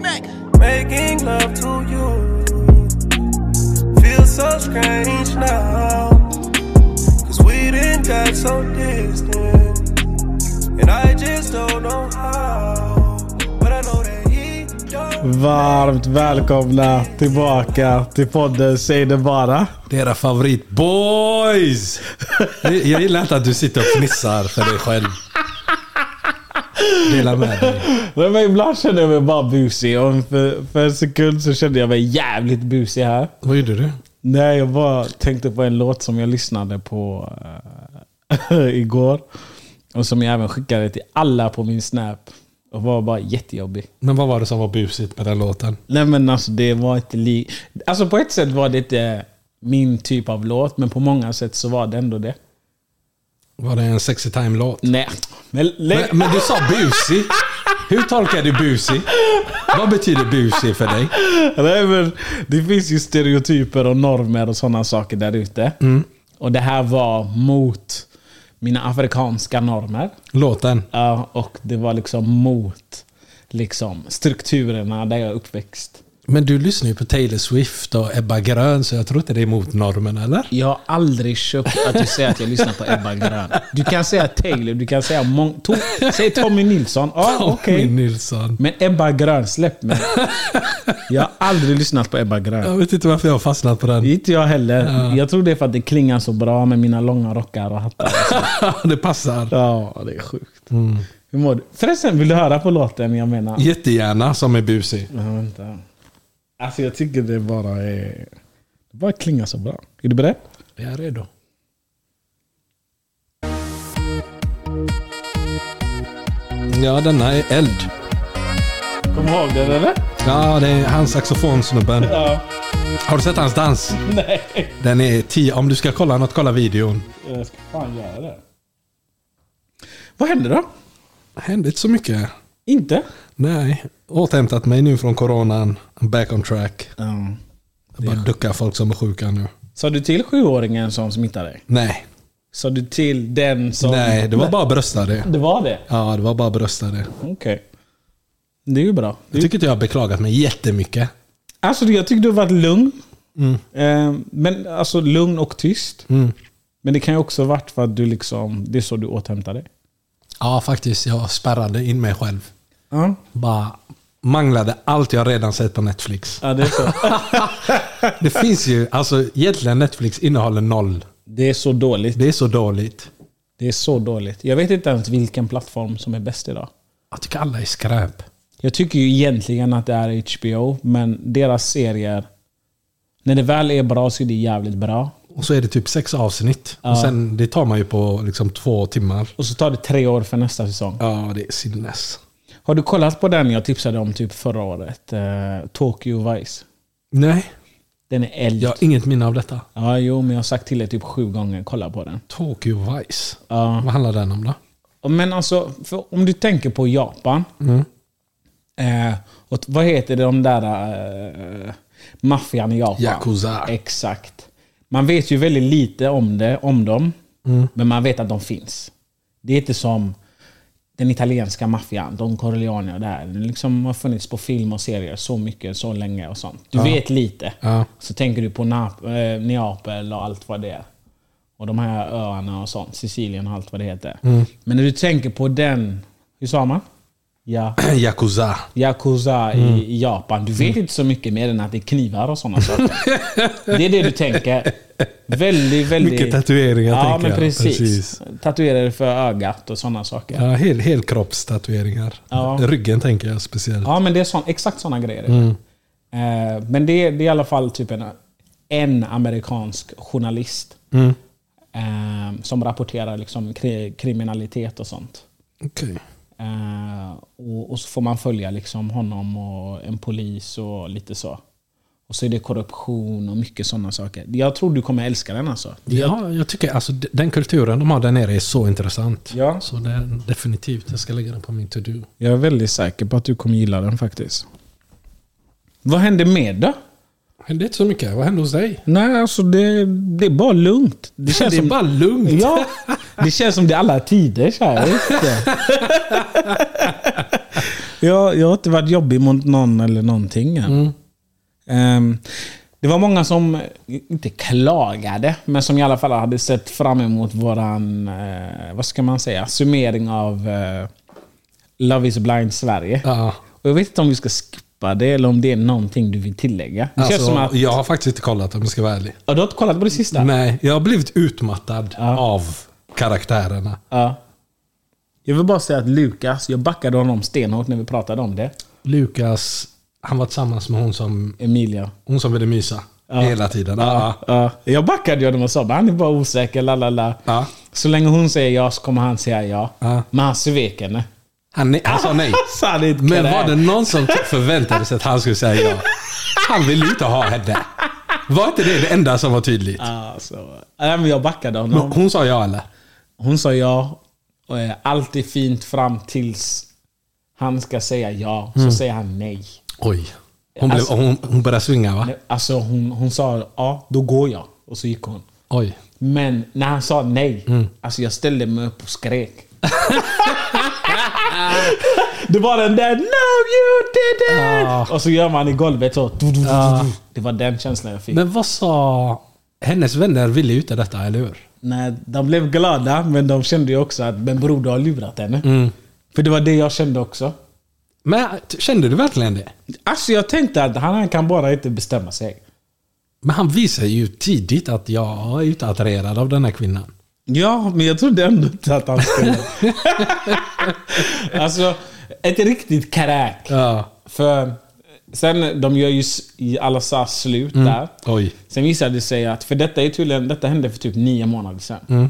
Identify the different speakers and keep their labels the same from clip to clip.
Speaker 1: Mac.
Speaker 2: Making love to you feels so strange now. Cause we didn't got so distant. And I just don't know how. But I know that he don't.
Speaker 3: Varmt välkomna tillbaka till podden Säg det bara.
Speaker 4: Det är era favoritboys! Jag- Jag gillar inte att du sitter och fnissar för dig själv. Dela med dig.
Speaker 3: Nej, Men ibland känner jag mig bara busig och för, för en sekund så kände jag mig jävligt busig här.
Speaker 4: Vad gjorde du?
Speaker 3: Nej, jag bara tänkte på en låt som jag lyssnade på eh, igår. Och som jag även skickade till alla på min snap. Och var bara jättejobbig.
Speaker 4: Men vad var det som var busigt med den låten?
Speaker 3: Nej men alltså det var inte li... Alltså på ett sätt var det inte min typ av låt, men på många sätt så var det ändå det.
Speaker 4: Var det en sexy time-låt?
Speaker 3: Nej. Men,
Speaker 4: Men, men du sa busig. Hur tolkar du busig? Vad betyder busig för dig?
Speaker 3: Nej, men det finns ju stereotyper och normer och sådana saker där ute. Och det här var mot mina afrikanska normer.
Speaker 4: Låten.
Speaker 3: Ja, och det var liksom mot liksom, strukturerna där jag är uppväxt.
Speaker 4: Men du lyssnar ju på Taylor Swift och Ebba Grön, så jag tror inte det är emot normen, eller?
Speaker 3: Jag har aldrig köpt att du säger att jag lyssnar på Ebba Grön. Du kan säga Taylor, du kan säga mång- to- Säg Tommy Nilsson. Ja, okej.
Speaker 4: Min Nilsson.
Speaker 3: Men Ebba Grön, släpp mig. Jag har aldrig lyssnat på Ebba Grön.
Speaker 4: Jag vet inte varför jag har fastnat på den.
Speaker 3: Inte jag heller. Jag tror det är för att det klingar så bra med mina långa rockar och hattar.
Speaker 4: det passar.
Speaker 3: Ja, det är sjukt. Hur mår du? Förresten, vill du höra på låten jag menar?
Speaker 4: Jättegärna som är busig.
Speaker 3: Men vänta. Alltså jag tycker det bara är... Det bara klingar så bra. Är du beredd?
Speaker 4: Jag är redo. Ja, denna är eld.
Speaker 3: Kommer du ihåg den eller?
Speaker 4: Ja, det är hans saxofonsnubben.
Speaker 3: Ja.
Speaker 4: Har du sett hans dans?
Speaker 3: Nej.
Speaker 4: Den är 10. Om du ska kolla något, kolla videon.
Speaker 3: Jag ska fan göra det. Vad hände då?
Speaker 4: Det hände inte så mycket.
Speaker 3: Inte?
Speaker 4: Nej. Återhämtat mig nu från coronan. I'm back on track.
Speaker 3: Mm.
Speaker 4: Jag bara duckar folk som är sjuka nu.
Speaker 3: Sa du till sjuåringen som smittade dig?
Speaker 4: Nej.
Speaker 3: Sa du till den som...
Speaker 4: Nej, det var bara bröstade.
Speaker 3: Det var det?
Speaker 4: Ja, det var bara bröstade.
Speaker 3: Okej. Det är ju bra.
Speaker 4: Jag tycker inte jag har beklagat mig jättemycket.
Speaker 3: Alltså jag tycker du har varit lugn. Eh, Men alltså lugn och tyst. Men det kan ju också ha varit för att du liksom, det är så du återhämtar dig.
Speaker 4: Ja, faktiskt. Jag spärrade in mig själv.
Speaker 3: Ja,
Speaker 4: Bara manglade allt jag redan sett på Netflix.
Speaker 3: det är så.
Speaker 4: Det finns ju, alltså egentligen Netflix innehåller noll.
Speaker 3: det är så dåligt.
Speaker 4: Det är så dåligt.
Speaker 3: Det är så dåligt. Jag vet inte ens vilken plattform som är bäst idag.
Speaker 4: Jag tycker alla är skräp.
Speaker 3: Jag tycker ju egentligen att det är HBO, men deras serier, när det väl är bra så är det jävligt bra.
Speaker 4: Och så är det typ sex avsnitt. Och sen, det tar man ju på liksom två timmar.
Speaker 3: Och så tar det tre år för nästa säsong.
Speaker 4: Ja, det är sinnes.
Speaker 3: Har du kollat på den jag tipsade om typ förra året? Eh, Tokyo Vice.
Speaker 4: Nej,
Speaker 3: Den är eld.
Speaker 4: jag har inget minne av detta.
Speaker 3: Ja, jo, men jag har sagt till dig typ sju gånger, kolla på den.
Speaker 4: Tokyo Vice.
Speaker 3: Ja.
Speaker 4: Vad handlar den om då?
Speaker 3: Men alltså, för om du tänker på Japan. Eh, och vad heter det, de där eh, maffian i Japan?
Speaker 4: Yakuza.
Speaker 3: Exakt. Man vet ju väldigt lite om, det, om dem, men man vet att de finns. Det är inte som den italienska maffian, Don Corleone och det här. Den liksom har funnits på film och serier så mycket, så länge och sånt. Du vet lite.
Speaker 4: Ja.
Speaker 3: Så tänker du på Nap eh, Neapel och allt vad det är. Och de här öarna och sånt. Sicilien och allt vad det heter. Men när du tänker på den... Hur sa man? Ja.
Speaker 4: Yakuza.
Speaker 3: Yakuza
Speaker 4: Mm.
Speaker 3: i, i Japan. Du vet inte så mycket mer än att det är knivar och sådana saker. det är det du tänker. Väldigt, väldigt...
Speaker 4: Mycket tatueringar
Speaker 3: Ja,
Speaker 4: tänker
Speaker 3: men
Speaker 4: jag.
Speaker 3: precis.
Speaker 4: Precis.
Speaker 3: Tatuerade för ögat och sådana saker.
Speaker 4: Ja, hel, helkroppstatueringar.
Speaker 3: Ja.
Speaker 4: Ryggen tänker jag speciellt.
Speaker 3: Ja, men det är sån, exakt sådana grejer.
Speaker 4: Mm.
Speaker 3: Eh, men det, är- det är i alla fall typ en, en amerikansk journalist
Speaker 4: Mm.
Speaker 3: eh, som rapporterar liksom kri, kriminalitet och sånt.
Speaker 4: Okej.
Speaker 3: Eh, och, och så får man följa liksom honom och en polis och lite så. Och så är det korruption och mycket sådana saker. Jag tror du kommer älska den alltså.
Speaker 4: Ja, jag tycker alltså d- den kulturen de har där nere är så intressant.
Speaker 3: Ja.
Speaker 4: Så den, definitivt, jag ska lägga den på min to-do.
Speaker 3: Jag är väldigt säker på att du kommer gilla den faktiskt. Vad hände med då?
Speaker 4: Hände inte så mycket. Vad hände hos dig?
Speaker 3: Nej, alltså det, det är bara lugnt. Det
Speaker 4: Det
Speaker 3: känns
Speaker 4: är
Speaker 3: som
Speaker 4: bara lugnt.
Speaker 3: Ja, det känns som det är alla tider så här. vet du. Jag, jag har inte varit jobbig mot någon eller någonting. än.
Speaker 4: Mm.
Speaker 3: Ehm, det var många som, eh, inte klagade, men som i alla fall hade sett fram emot våran, eh, vad ska man säga, summering av eh, Love is blind Sverige.
Speaker 4: Ja.
Speaker 3: Och jag vet inte om vi ska skippa det eller om det är någonting du vill tillägga. Det känns
Speaker 4: Alltså,
Speaker 3: som att...
Speaker 4: Jag har faktiskt inte kollat om jag ska vara ärlig.
Speaker 3: Ja, du har inte kollat på det sista?
Speaker 4: Nej, jag har blivit utmattad av karaktärerna.
Speaker 3: Ja. Jag vill bara säga att Lukas, jag backade honom stenhårt när vi pratade om det.
Speaker 4: Lukas, han var tillsammans med hon som,
Speaker 3: Emilia.
Speaker 4: hon som ville mysa hela tiden. Ja.
Speaker 3: Ja, jag backade ju honom och sa bara, han är bara osäker, la la la.
Speaker 4: Ja.
Speaker 3: Så länge hon säger ja så kommer han säga ja.
Speaker 4: Ja.
Speaker 3: Men han svek henne.
Speaker 4: Han, ne- han sa nej.
Speaker 3: Alltså, han är ett
Speaker 4: Men
Speaker 3: kräk.
Speaker 4: var det någon som typ förväntade sig att han skulle säga ja? Han ville ju inte ha henne. Var inte det det enda som var tydligt?
Speaker 3: Alltså, nej, men jag backade honom.
Speaker 4: Hon sa ja eller?
Speaker 3: Hon sa ja. Och eh, allt är fint fram tills han ska säga ja. Så säger han nej.
Speaker 4: Oj. Hon, blev,
Speaker 3: Alltså-
Speaker 4: hon, hon började svinga va?
Speaker 3: Alltså hon, hon sa ja, då går jag. Och så gick hon.
Speaker 4: Oj.
Speaker 3: Men när han sa nej, alltså jag ställde mig upp och skrek. det var den där No you didn't!
Speaker 4: Ja.
Speaker 3: Och så gör man i golvet så. Det var den känslan jag fick.
Speaker 4: Men vad sa... Hennes vänner ville ju inte detta, eller hur?
Speaker 3: Nej, de blev glada, men de kände ju också att men bror, du har lurat henne. För det var det jag kände också.
Speaker 4: Men t- kände du verkligen det?
Speaker 3: Alltså jag tänkte att han kan bara inte bestämma sig.
Speaker 4: Men han visar ju tidigt att jag är inte attraherad av den här kvinnan.
Speaker 3: Ja, men jag trodde ändå inte att han skulle... alltså, ett riktigt kräk.
Speaker 4: Ja.
Speaker 3: För sen, de gör ju s- i alla SAS slut
Speaker 4: Mm.
Speaker 3: där.
Speaker 4: Oj.
Speaker 3: Sen visade det sig att, för detta är tydligen, detta hände för typ nio månader sedan.
Speaker 4: Mm.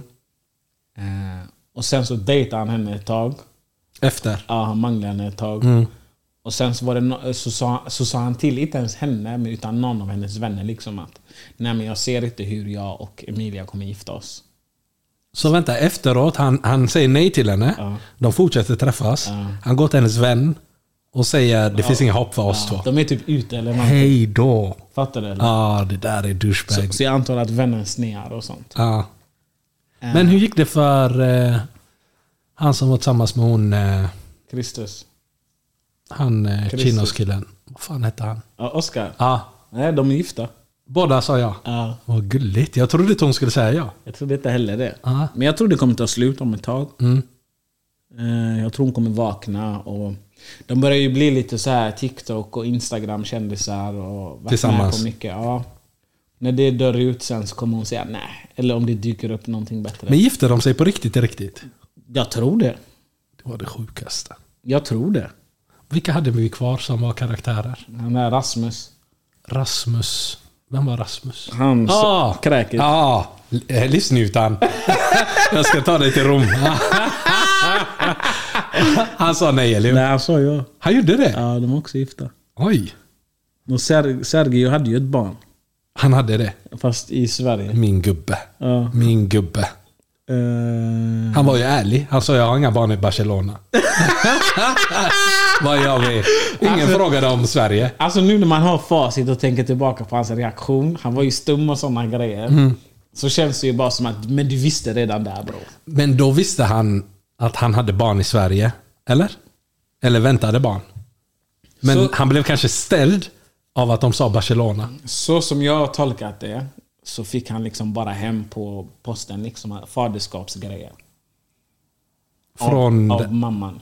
Speaker 3: Eh, och sen så dejtade han henne ett tag.
Speaker 4: Efter.
Speaker 3: Ja, han manglade henne ett tag.
Speaker 4: Mm.
Speaker 3: Och sen så, var det, no- så, sa, så sa han till, inte ens henne, men utan någon av hennes vänner liksom att Nej men jag ser inte hur jag och Emilia kommer gifta oss.
Speaker 4: Så vänta, efteråt, han, han säger nej till henne. De fortsätter träffas. Han går till hennes vän och säger det finns inga hopp för oss två.
Speaker 3: De är typ ute eller något.
Speaker 4: Hej då!
Speaker 3: Fattar du? Eller?
Speaker 4: Ja, det där är douchebag.
Speaker 3: Så jag antar att vännen snear och sånt.
Speaker 4: Ja. Men hur gick det för eh, han som var tillsammans med hon, eh,
Speaker 3: Kristus.
Speaker 4: han eh,
Speaker 3: Christer.
Speaker 4: Chinos-killen? Vad fan hette han?
Speaker 3: Ja, Oscar.
Speaker 4: Ja,
Speaker 3: Nej, de är gifta.
Speaker 4: båda sa ja.
Speaker 3: Ja.
Speaker 4: Vad gulligt. Jag trodde inte hon skulle säga ja.
Speaker 3: Jag trodde inte heller det.
Speaker 4: Ja.
Speaker 3: Men jag tror det kommer ta slut om ett tag.
Speaker 4: Mm.
Speaker 3: Eh, Jag tror hon kommer vakna. Och de börjar ju bli lite så här TikTok och Instagram-kändisar. Och varit med
Speaker 4: Tillsammans.
Speaker 3: På mycket. Ja. När det dör ut sen så kommer hon säga nej. Eller om det dyker upp någonting bättre.
Speaker 4: Men gifte de sig på riktigt, riktigt?
Speaker 3: Jag tror det.
Speaker 4: Det var det sjukaste.
Speaker 3: Jag tror det.
Speaker 4: Vilka hade vi kvar som var karaktärer?
Speaker 3: Han där Rasmus.
Speaker 4: Rasmus. Vem var Rasmus?
Speaker 3: Han
Speaker 4: Ah!
Speaker 3: kräket.
Speaker 4: Ja, ah, eh, livsnjutan. jag ska ta dig till Rom. han sa nej, eller hur?
Speaker 3: Nej, han sa jag.
Speaker 4: Han gjorde det?
Speaker 3: Ja, de är också gifta.
Speaker 4: Oj.
Speaker 3: Och Ser- Sergio hade ju ett barn.
Speaker 4: Han hade det.
Speaker 3: Fast i Sverige.
Speaker 4: Min gubbe.
Speaker 3: Ja.
Speaker 4: Min gubbe.
Speaker 3: Eh,
Speaker 4: Han var ju ärlig. Han sa jag har inga barn i Barcelona. Vad jag vet. Ingen frågade om Sverige.
Speaker 3: Alltså nu när man har facit och tänker tillbaka på hans reaktion. Han var ju stum och sådana grejer. Så känns det ju bara som att, men du visste redan där bror.
Speaker 4: Men då visste han att han hade barn i Sverige. Eller? Eller väntade barn. Men
Speaker 3: Så-
Speaker 4: han blev kanske ställd av att de sa Barcelona.
Speaker 3: Så som jag har tolkat det, så fick han liksom bara hem på posten liksom faderskapsgrejer.
Speaker 4: Från...
Speaker 3: Av, av mamman.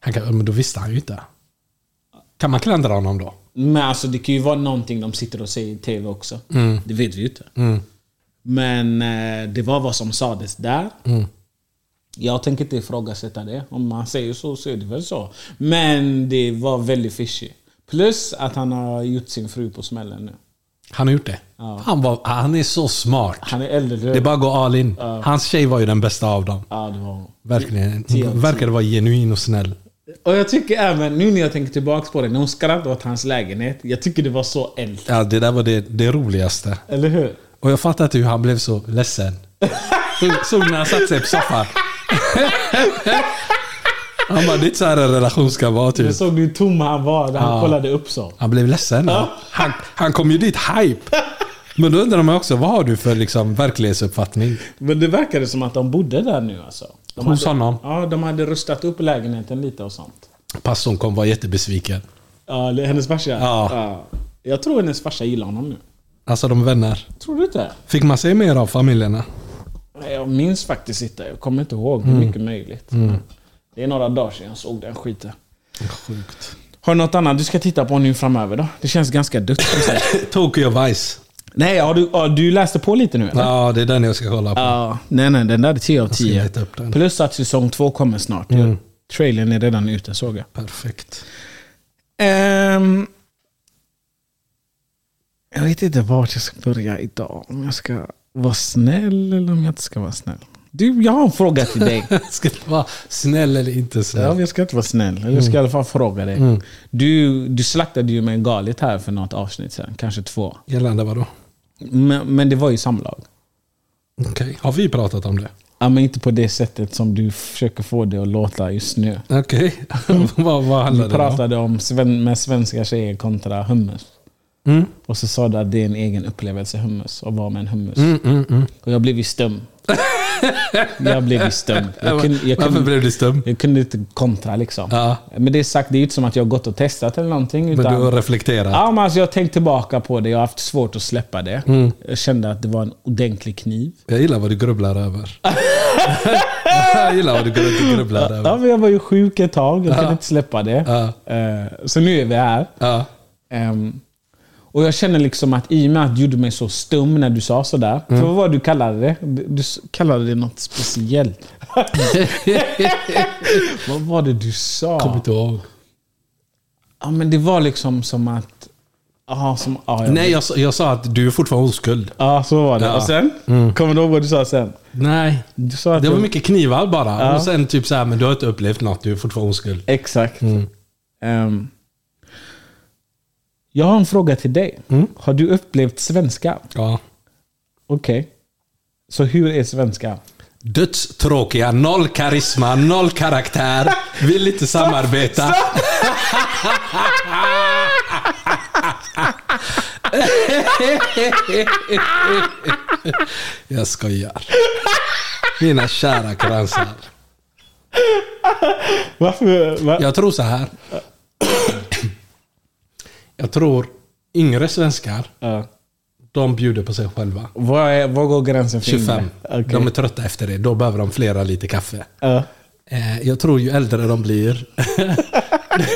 Speaker 4: Han kan, men då visste han ju inte. Kan man klandra honom då?
Speaker 3: Men alltså det kan ju vara någonting de sitter och säger i TV också.
Speaker 4: Mm.
Speaker 3: Det vet vi ju inte. Men eh, det var vad som sades där.
Speaker 4: Mm.
Speaker 3: Jag tänker inte ifrågasätta det. Om man säger så så är det väl så. Men det var väldigt fishy. Plus att han har gjort sin fru på smällen nu.
Speaker 4: Han har gjort det. Han, var, han är så smart.
Speaker 3: Han är äldre.
Speaker 4: Det är bara att gå all in. Hans tjej var ju den bästa av dem.
Speaker 3: Ja, det var hon.
Speaker 4: Verkligen.
Speaker 3: Tio av
Speaker 4: Hon verkade vara genuin och snäll.
Speaker 3: Och jag tycker även, nu när jag tänker tillbaka på det, när hon skrattade åt hans lägenhet. Jag tycker det var så äldre.
Speaker 4: Ja, det där var det, det roligaste.
Speaker 3: Eller hur?
Speaker 4: Och jag fattar inte hur han blev så ledsen. Så- Såg när han satt sig på soffan. Han bara, det är inte så här en relation ska vara
Speaker 3: Jag
Speaker 4: typ.
Speaker 3: såg du hur tom han var när han
Speaker 4: Ja.
Speaker 3: kollade upp så.
Speaker 4: Han blev ledsen. Han, han kom ju dit hype. Men då undrar man också, vad har du för liksom, verklighetsuppfattning?
Speaker 3: Men det verkade som att de bodde där nu alltså. De
Speaker 4: Hos honom?
Speaker 3: Ja, de hade rustat upp lägenheten lite och sånt.
Speaker 4: Pastorn kom var jättebesviken.
Speaker 3: Ja, eller hennes farsa?
Speaker 4: Ja.
Speaker 3: Jag tror hennes farsa gillar honom nu.
Speaker 4: Alltså de vänner.
Speaker 3: Tror du inte?
Speaker 4: Fick man se mer av familjerna?
Speaker 3: Nej, Jag minns faktiskt inte. Jag kommer inte ihåg. hur Mycket möjligt. Det är några dagar sedan jag såg den skiten.
Speaker 4: Sjukt.
Speaker 3: Har du något annat du ska titta på nu framöver då? Det känns ganska dött. som sagt.
Speaker 4: Tokyo Vice.
Speaker 3: nej, har du, ja, du läste på lite nu eller?
Speaker 4: Ja, det är den jag ska kolla på.
Speaker 3: Ja, nej, nej. Den där är 10 av
Speaker 4: ska
Speaker 3: 10.
Speaker 4: leta upp den.
Speaker 3: Plus att säsong 2 kommer snart.
Speaker 4: Mm.
Speaker 3: Trailern är redan ute såg jag.
Speaker 4: Perfekt.
Speaker 3: Ehm, jag vet inte vart jag ska börja idag. Om jag ska vara snäll eller om jag inte ska vara snäll. Du, jag har en fråga till dig.
Speaker 4: Ska det vara snäll eller inte snäll?
Speaker 3: Ja, jag ska inte vara snäll. Eller jag
Speaker 4: Mm.
Speaker 3: ska i alla fall fråga dig. Du, du slaktade ju mig galet här för något avsnitt sen. Kanske två.
Speaker 4: Gällande vadå?
Speaker 3: Men, men det var ju samlag.
Speaker 4: Okej, har vi pratat om det?
Speaker 3: Ja, men inte på det sättet som du försöker få det att låta just nu.
Speaker 4: Okej, vad, vad
Speaker 3: Vi
Speaker 4: handlade det om?
Speaker 3: pratade om sven, med svenska tjejer kontra hummus.
Speaker 4: Mm.
Speaker 3: Och så sa du att det är en egen upplevelse, hummus, att vara med en hummus.
Speaker 4: Mm, mm, mm.
Speaker 3: Och jag blev ju stum. jag blev ju stum. Jag kunde, jag
Speaker 4: Varför
Speaker 3: kunde,
Speaker 4: blev du stum?
Speaker 3: jag kunde inte kontra liksom.
Speaker 4: Ja.
Speaker 3: Men det sagt, det är ju inte som att jag har gått och testat eller någonting.
Speaker 4: Men
Speaker 3: Utan,
Speaker 4: du har reflekterat?
Speaker 3: Ja, men alltså jag har tänkt tillbaka på det. Jag har haft svårt att släppa det.
Speaker 4: Mm.
Speaker 3: Jag kände att det var en ordentlig kniv.
Speaker 4: Jag gillar vad du grubblar över. jag gillar vad du grub- grubblar
Speaker 3: Ja,
Speaker 4: över.
Speaker 3: men jag var ju sjuk ett tag. Jag kunde inte släppa det.
Speaker 4: Ja.
Speaker 3: Eh, Så nu är vi här.
Speaker 4: Ja.
Speaker 3: Ehm, Och jag känner liksom att i och med att du gjorde mig så stum när du sa sådär. För vad var det du kallade det? Du du s- Mm. kallade det något speciellt. vad var det du sa?
Speaker 4: Kommer inte ihåg.
Speaker 3: Ja, men det var liksom som att... Aha, som, ja, jag
Speaker 4: Nej, jag, sa- jag sa att du är fortfarande oskuld.
Speaker 3: ja, Mm. så var det.
Speaker 4: Ja.
Speaker 3: Och sen? Kommer du ihåg vad du sa sen?
Speaker 4: Nej.
Speaker 3: Du sa att
Speaker 4: Det var
Speaker 3: jag-
Speaker 4: mycket knivar bara. Och sen typ så här, men du har inte upplevt något, du är fortfarande oskuld.
Speaker 3: Exakt. Ehm, jag har en fråga till dig. Har du upplevt svenska?
Speaker 4: Ja.
Speaker 3: Okej. Så hur är svenska?
Speaker 4: Dödstråkiga, noll karisma, noll karaktär. Vill inte samarbeta. Jag skojar. Mina kära kransar.
Speaker 3: Varför? Va?
Speaker 4: Jag tror så här. Jag tror yngre svenskar,
Speaker 3: Ja.
Speaker 4: de bjuder på sig själva.
Speaker 3: Vad, är, vad går gränsen för
Speaker 4: 25.
Speaker 3: yngre? Okej.
Speaker 4: De är trötta efter det. Då behöver de flera liter kaffe.
Speaker 3: Ja.
Speaker 4: Eh, Jag tror ju äldre de blir,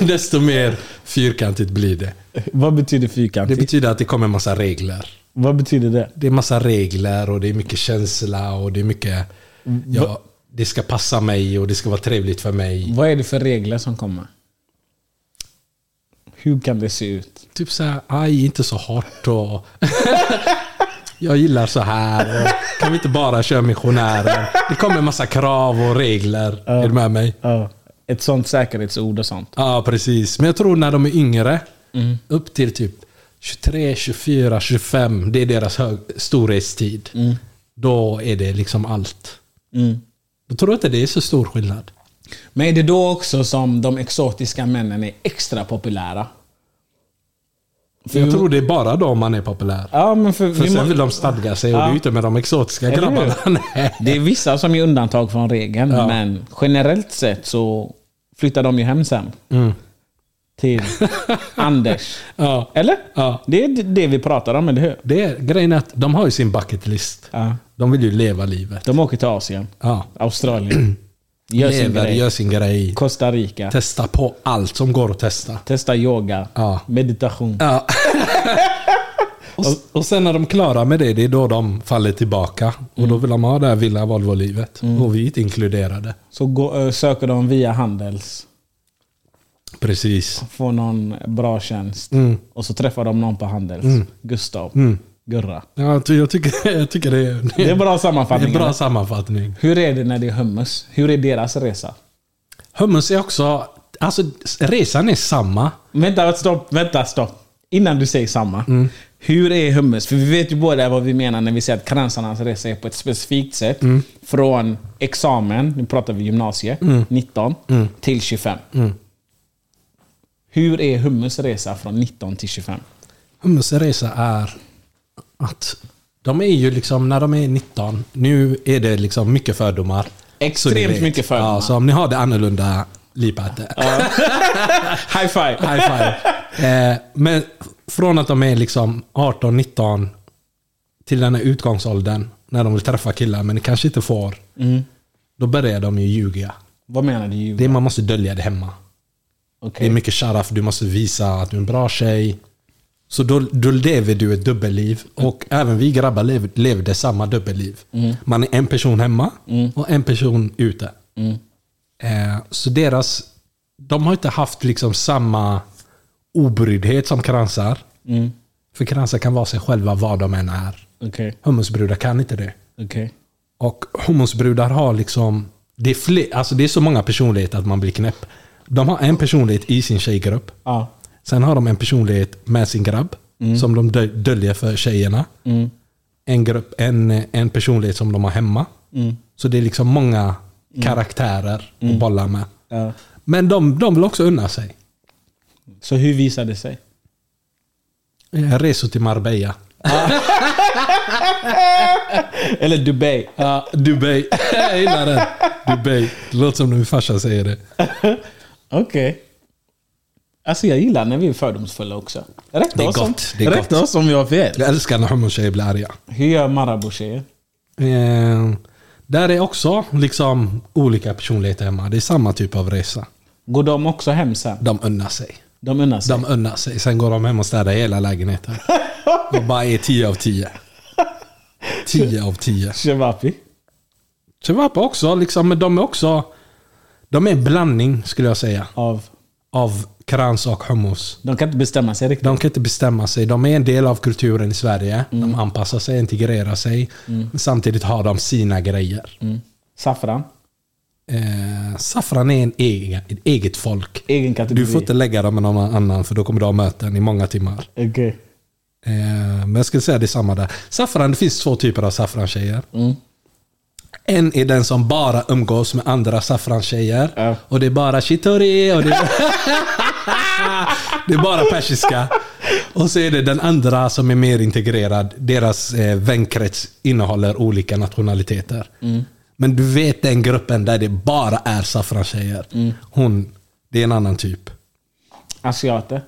Speaker 4: desto mer fyrkantigt blir det.
Speaker 3: Vad betyder
Speaker 4: Det
Speaker 3: fyrkantigt?
Speaker 4: betyder att det kommer en massa regler.
Speaker 3: vad betyder det?
Speaker 4: Det är massa regler och det är mycket känsla och det är mycket... Ja, det ska passa mig och det ska vara trevligt för mig.
Speaker 3: Vad är det för regler som kommer? Hur kan det se ut?
Speaker 4: Typ så här, aj, inte så hårt och... Jag gillar så här. Och kan vi inte bara köra missionären? Det kommer en massa krav och regler. Är du med mig?
Speaker 3: Ja. Ett sånt säkerhetsord och sånt.
Speaker 4: Ja, precis. Men jag tror när de är yngre,
Speaker 3: Mm.
Speaker 4: upp till typ 23, 24, 25, det är deras hög, storhetstid.
Speaker 3: Mm.
Speaker 4: Då är det liksom allt. Mm. Då tror jag inte det är så stor skillnad.
Speaker 3: Men är det då också som de exotiska männen är extra populära? För
Speaker 4: Jag
Speaker 3: vi-
Speaker 4: tror det är bara då man är populär.
Speaker 3: Ja, men för,
Speaker 4: För
Speaker 3: vi må-
Speaker 4: sen vill de stadga sig och du är ute med de exotiska
Speaker 3: Eller hur?
Speaker 4: grabbarna. Nej.
Speaker 3: Det är vissa som gör undantag från regeln, men generellt sett så flyttar de ju hem sen. Till Anders.
Speaker 4: Mm. Ja.
Speaker 3: Eller?
Speaker 4: Ja.
Speaker 3: Det är det vi pratar om, eller hur?
Speaker 4: Det är, grejen är att de har ju sin bucket list.
Speaker 3: Ja.
Speaker 4: De vill ju leva livet.
Speaker 3: De åker till Asien,
Speaker 4: Ja.
Speaker 3: Australien, gör sin
Speaker 4: Lever,
Speaker 3: grej,
Speaker 4: gör sin grej.
Speaker 3: Costa Rica,
Speaker 4: Testa på allt som går att testa.
Speaker 3: testa yoga,
Speaker 4: Ja.
Speaker 3: meditation.
Speaker 4: Ja. och, och sen när de klarar med det, det är då de faller tillbaka. Och
Speaker 3: Mm.
Speaker 4: då vill de ha det här villa Volvo-livet. Och vi är inte inkluderade.
Speaker 3: Så gå, ö, söker de via Handels,
Speaker 4: Precis.
Speaker 3: får någon bra tjänst
Speaker 4: Mm.
Speaker 3: och så träffar de någon på Handels. Gustav, Gurra.
Speaker 4: Ja, Jag, ty- jag, tycker, jag tycker det är,
Speaker 3: Det är bra
Speaker 4: Mm. det är
Speaker 3: sammanfattning.
Speaker 4: en bra
Speaker 3: eller?
Speaker 4: sammanfattning.
Speaker 3: Hur är det när det är hummus? Hur är deras resa?
Speaker 4: Hummus är också... Alltså, resan är samma.
Speaker 3: Vänta, stopp, vänta, stopp. Innan du säger samma.
Speaker 4: Mm.
Speaker 3: Hur är hummus? För vi vet ju båda vad vi menar när vi säger att kransarnas resa är på ett specifikt sätt.
Speaker 4: Mm.
Speaker 3: Från examen, nu pratar vi gymnasie,
Speaker 4: Mm.
Speaker 3: 19 till 25. Hur är hummus resa från 19 till 25?
Speaker 4: Hummus resa är att de är ju liksom, när de är 19, nu är det liksom mycket fördomar. Så ni
Speaker 3: Extremt
Speaker 4: vet.
Speaker 3: mycket fördomar.
Speaker 4: Ja, så om ni har det annorlunda lipat det.
Speaker 3: High five!
Speaker 4: High five. Eh, men från att de är liksom 18, 19 till den här utgångsåldern när de vill träffa killar men kanske inte får. Då börjar de ju ljuga.
Speaker 3: Vad menar du?
Speaker 4: Det, man måste dölja det hemma. Det
Speaker 3: Okej.
Speaker 4: är mycket sharaf, du måste visa att du är en bra tjej. Så då, då lever du ett dubbelliv. Och även vi grabbar lev, levde samma dubbelliv. Man är en person hemma och en person ute. Eh, så deras... De har inte haft liksom samma obryddhet som kransar. För kransar kan vara sig själva vad de än är.
Speaker 3: Okej.
Speaker 4: Hummusbrudar kan inte det.
Speaker 3: Okej.
Speaker 4: Och homosbrudar har liksom... Det är, fler, alltså det är så många personligheter att man blir knäpp. De har en personlighet i sin tjejgrupp.
Speaker 3: Ja.
Speaker 4: Sen har de en personlighet med sin grabb. Som de dö- döljer för tjejerna. En, grupp, en, en personlighet som de har hemma. Så det är liksom många karaktärer att bolla med.
Speaker 3: Ja.
Speaker 4: Men de, de vill också unna sig.
Speaker 3: Så hur visar det sig?
Speaker 4: Eh, Resor till Marbella.
Speaker 3: Eller Dubai.
Speaker 4: Ja, Dubai. Jag gillar den. Dubai. Det låter som när min farsa säger det.
Speaker 3: Okej. Alltså jag gillar när vi är fördomsfulla också. Rätta
Speaker 4: Det är
Speaker 3: oss
Speaker 4: gott,
Speaker 3: Om,
Speaker 4: det är
Speaker 3: rätta
Speaker 4: gott.
Speaker 3: oss om jag har fel.
Speaker 4: Jag älskar när homotjejer blir arga.
Speaker 3: Hur gör Marabou-tjejer?
Speaker 4: Eh, där är också liksom olika personligheter hemma. Det är samma typ av resa.
Speaker 3: Går de också hem sen?
Speaker 4: De unnar sig.
Speaker 3: De unnar sig?
Speaker 4: De unnar sig. Sen går de hem och städar hela lägenheten. Och bara är 10 av 10. 10 av 10.
Speaker 3: Shewapi?
Speaker 4: Chewapa också, liksom, men de är också... De är en blandning, skulle jag säga,
Speaker 3: Av...
Speaker 4: av krans och hummus.
Speaker 3: De kan inte bestämma sig riktigt.
Speaker 4: De kan inte bestämma sig. De är en del av kulturen i Sverige. De anpassar sig, integrerar sig. Men samtidigt har de sina grejer.
Speaker 3: Saffran?
Speaker 4: Eh, Saffran är en egen, ett eget folk.
Speaker 3: Egen kategori?
Speaker 4: Du får inte lägga dem med någon annan för då kommer du ha möten i många timmar.
Speaker 3: Okej.
Speaker 4: Eh, men jag skulle säga det är samma där. Saffran, det finns två typer av saffrantjejer. En är den som bara umgås med andra saffrantjejer.
Speaker 3: Ja.
Speaker 4: Och det är bara chitori och det är, det är bara persiska. Och så är det den andra som är mer integrerad. Deras eh, vänkrets innehåller olika nationaliteter. Men du vet den gruppen där det bara är saffrantjejer. Hon, det är en annan typ.
Speaker 3: Asiater?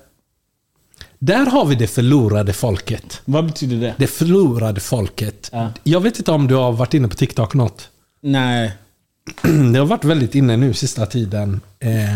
Speaker 4: Där har vi det förlorade folket.
Speaker 3: Vad betyder det?
Speaker 4: Det förlorade folket.
Speaker 3: Ja.
Speaker 4: Jag vet inte om du har varit inne på TikTok något.
Speaker 3: Nej.
Speaker 4: Det har varit väldigt inne nu sista tiden. Eh,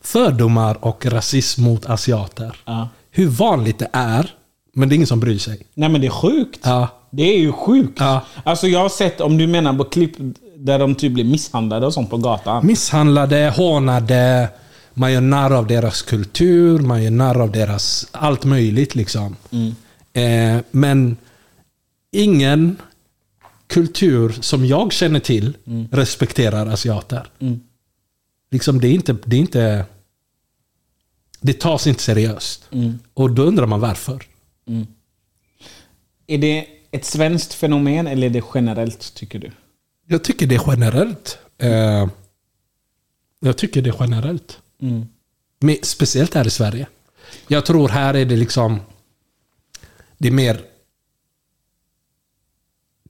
Speaker 4: fördomar och rasism mot asiater.
Speaker 3: Ja.
Speaker 4: Hur vanligt det är, men det är ingen som bryr sig.
Speaker 3: Nej men det är sjukt.
Speaker 4: Ja.
Speaker 3: Det är ju sjukt.
Speaker 4: Ja.
Speaker 3: Alltså jag har sett, om du menar på klipp där de typ blir misshandlade och sånt på gatan.
Speaker 4: Misshandlade, hånade. Man gör narr av deras kultur, man gör narr av deras allt möjligt. liksom. Eh, men ingen kultur som jag känner till respekterar asiater. Liksom det är inte... Det, är inte, det tas inte seriöst. Och då undrar man varför.
Speaker 3: Är det ett svenskt fenomen eller är det generellt tycker du?
Speaker 4: Jag tycker det är generellt. Eh, jag tycker det är generellt.
Speaker 3: Mm.
Speaker 4: Men speciellt här i Sverige. Jag tror här är det liksom... Det är mer...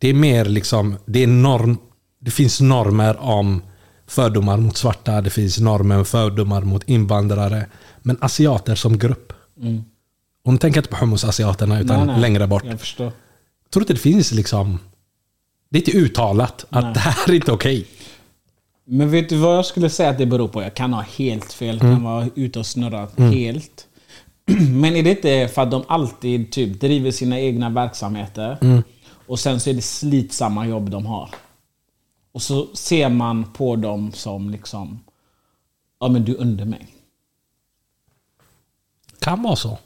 Speaker 4: Det är mer liksom... Det, är norm, det finns normer om fördomar mot svarta. Det finns normer och fördomar mot invandrare. Men asiater som grupp. Och nu tänker jag inte på hummus-asiaterna utan
Speaker 3: Mm. Nej, nej.
Speaker 4: längre bort.
Speaker 3: Jag förstår.
Speaker 4: Jag tror inte det finns liksom... Det är inte uttalat att det här är inte okej.
Speaker 3: Men vet du vad jag skulle säga att det beror på? Jag kan ha helt fel. Jag kan vara ute och snurra helt. Men är det inte för att de alltid typ driver sina egna verksamheter och sen så är det slitsamma jobb de har. Och så ser man på dem som liksom, ja men du är under mig.
Speaker 4: Kan vara så.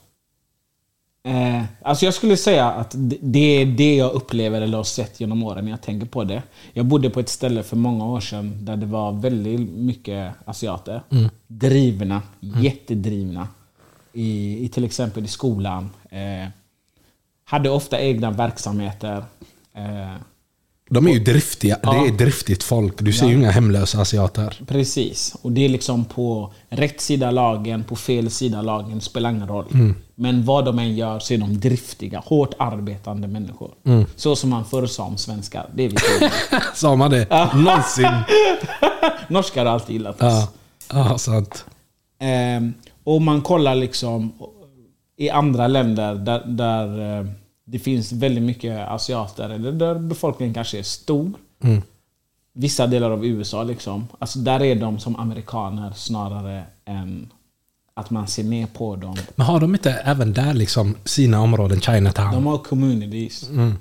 Speaker 3: Eh, alltså jag skulle säga att det- det är det jag upplever eller har sett genom åren när jag tänker på det. Jag bodde på ett ställe för många år sedan där det var väldigt mycket asiater. Drivna, jättedrivna. I, i till exempel i skolan. Eh, hade ofta egna verksamheter. Eh,
Speaker 4: De är ju driftiga. Det är driftigt folk. Du ser ju inga hemlösa asiater.
Speaker 3: Precis. Och det är liksom på rätt sida lagen, på fel sida lagen, spelar ingen roll.
Speaker 4: Mm.
Speaker 3: Men vad de än gör så är de driftiga, hårt arbetande människor.
Speaker 4: Mm.
Speaker 3: Så som man förr sa om svenskar. Det är vi
Speaker 4: Sa man det? Någonsin.
Speaker 3: Norskar har alltid gillat oss.
Speaker 4: Ja, sant.
Speaker 3: Ehm, och man kollar liksom i andra länder där, där eh, det finns väldigt mycket asiater, eller där befolkningen kanske är stor. Vissa delar av USA, liksom. Alltså där är de som amerikaner snarare än att man ser ner på dem.
Speaker 4: Men har de inte även där liksom sina områden, Chinatown?
Speaker 3: De har communities. Eh,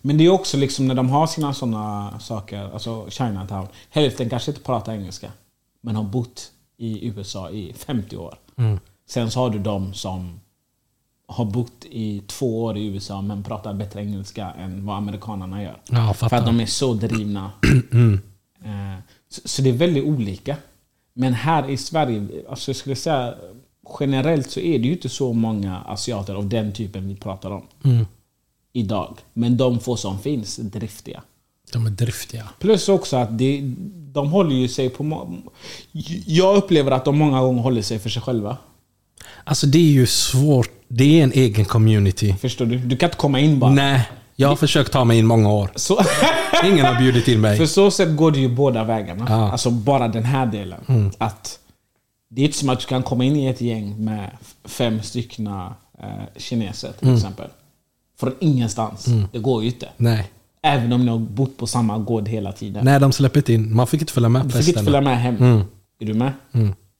Speaker 3: Men det är också liksom när de har sina sådana saker, alltså Chinatown. Hälften kanske inte pratar engelska, men har bott i USA i 50 år. Sen så har du de som har bott i två år i USA men pratar bättre engelska än vad amerikanarna gör.
Speaker 4: Ja,
Speaker 3: För att
Speaker 4: fattar. Mm.
Speaker 3: de är så drivna. Eh, Så, så det är väldigt olika. Men här i Sverige, alltså jag skulle säga generellt så är det ju inte så många asiater av den typen vi pratar om.
Speaker 4: Mm.
Speaker 3: Idag. Men de få som finns är driftiga.
Speaker 4: De är driftiga.
Speaker 3: Plus också att det, de håller ju sig på... må- Jag upplever att de många gånger håller sig för sig själva.
Speaker 4: Alltså det är ju svårt. Det är en egen community.
Speaker 3: Förstår du? Du kan inte komma in bara.
Speaker 4: Nej, jag har försökt ta mig in många år.
Speaker 3: Så,
Speaker 4: Ingen har bjudit in
Speaker 3: för
Speaker 4: mig.
Speaker 3: så sätt går det ju båda vägarna.
Speaker 4: Ja. Mm.
Speaker 3: Alltså bara den här delen. Att det är inte som att du kan komma in i ett gäng med f- fem stycken eh, kineser till exempel. Från ingenstans. Det går ju inte.
Speaker 4: Mm. Nej.
Speaker 3: Även om ni har bott på samma gård hela tiden.
Speaker 4: Nej, de släpper inte in. Man fick inte följa med
Speaker 3: Du
Speaker 4: på
Speaker 3: fick inte följa
Speaker 4: festerna.
Speaker 3: med hem. Är du med?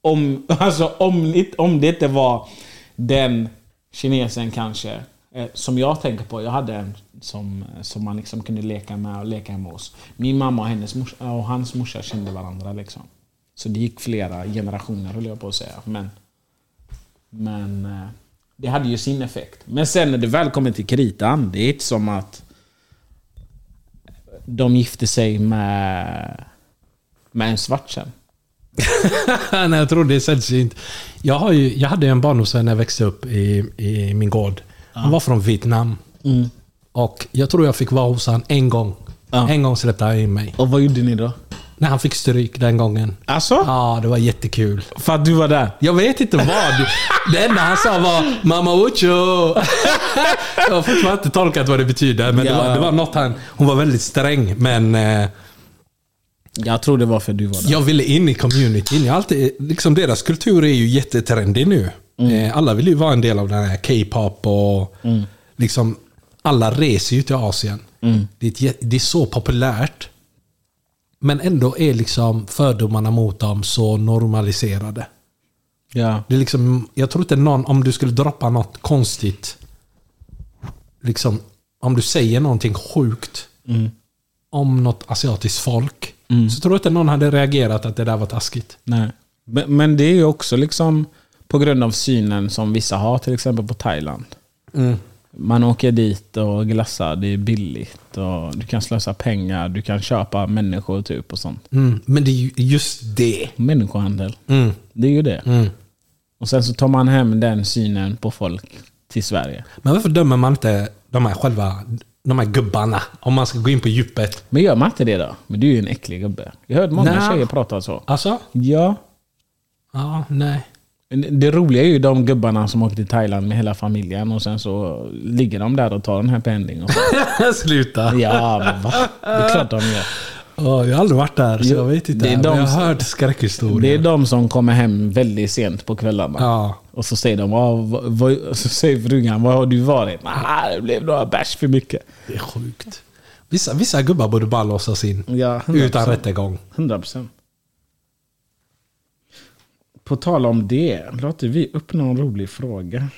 Speaker 3: Om, alltså, om, ni- om det inte var den kinesen kanske, eh, som jag tänker på. Jag hade en som, som man liksom kunde leka med och leka hemma hos. Min mamma och, hennes morsa, och hans morsa kände varandra. Liksom. Så det gick flera generationer höll jag på att säga. Men, men eh, det hade ju sin effekt. Men sen när det väl kommer till kritan, det är inte som att de gifte sig med, med en svart sen.
Speaker 4: Nej, jag tror det är sällsynt. Jag, har ju, jag hade ju en barndomsvän när jag växte upp i, i min gård. Han var från Vietnam. Och jag tror jag fick vara hos han en gång.
Speaker 3: Mm. Ja.
Speaker 4: En gång släppte han in mig.
Speaker 3: Och vad gjorde ni då?
Speaker 4: När han fick stryk den gången.
Speaker 3: Alltså?
Speaker 4: Ja, det var jättekul.
Speaker 3: För att du var där?
Speaker 4: Jag vet inte vad. Det enda han sa var “Mamma Ucho”. Jag har fortfarande inte tolkat vad det betyder. Men det,
Speaker 3: Ja.
Speaker 4: var, det var något han... Hon var väldigt sträng, men eh,
Speaker 3: Jag tror det var för att du var där.
Speaker 4: jag ville in i communityn. Jag har alltid, liksom, deras kultur är ju jättetrendig nu.
Speaker 3: Mm.
Speaker 4: Eh, alla vill ju vara en del av den här K-pop och... Liksom, alla reser ju till Asien.
Speaker 3: Mm.
Speaker 4: Det, är ett, jä- det är så populärt. Men ändå är liksom fördomarna mot dem så normaliserade.
Speaker 3: Ja.
Speaker 4: Det är liksom, jag tror inte någon, om du skulle droppa något konstigt, liksom, om du säger någonting sjukt
Speaker 3: Mm.
Speaker 4: om något asiatiskt folk, så tror jag inte någon hade reagerat att det där var taskigt.
Speaker 3: Nej. Men, men det är ju också liksom på grund av synen som vissa har till exempel på Thailand. Mm. Man åker dit och glassar, det är billigt. Och du kan slösa pengar, du kan köpa människor typ och sånt.
Speaker 4: Mm. Men det är ju just det.
Speaker 3: Människohandel.
Speaker 4: Mm.
Speaker 3: Det är ju det. Och sen så tar man hem den synen på folk till Sverige.
Speaker 4: Men varför dömer man inte de här själva, de här gubbarna, om man ska gå in på djupet?
Speaker 3: Men gör man inte det då? Men du är ju en äcklig gubbe. Jag har hört många
Speaker 4: Nej.
Speaker 3: tjejer prata så.
Speaker 4: Alltså?
Speaker 3: Ja.
Speaker 4: Ja, nej.
Speaker 3: Det roliga är ju de gubbarna som åker till Thailand med hela familjen och sen så ligger de där och tar den här pending. Och så.
Speaker 4: Sluta.
Speaker 3: Ja, men va? Det är klart de gör.
Speaker 4: Ja, jag har aldrig varit där, så
Speaker 3: Jo,
Speaker 4: jag vet inte.
Speaker 3: det är
Speaker 4: Men
Speaker 3: de
Speaker 4: jag
Speaker 3: som-
Speaker 4: har hört skräckhistorier.
Speaker 3: Oh, Det är de som kommer hem väldigt sent på kvällarna.
Speaker 4: Ja.
Speaker 3: Och så säger de, "Ah, vad, vad, så säger frugan, var har du varit? Ah, det blev några bärs för mycket.
Speaker 4: Det är sjukt. Vissa, vissa gubbar borde bara låsas in.
Speaker 3: Ja,
Speaker 4: utan rättegång.
Speaker 3: 100%. På tal om det, låter vi upp någon rolig fråga.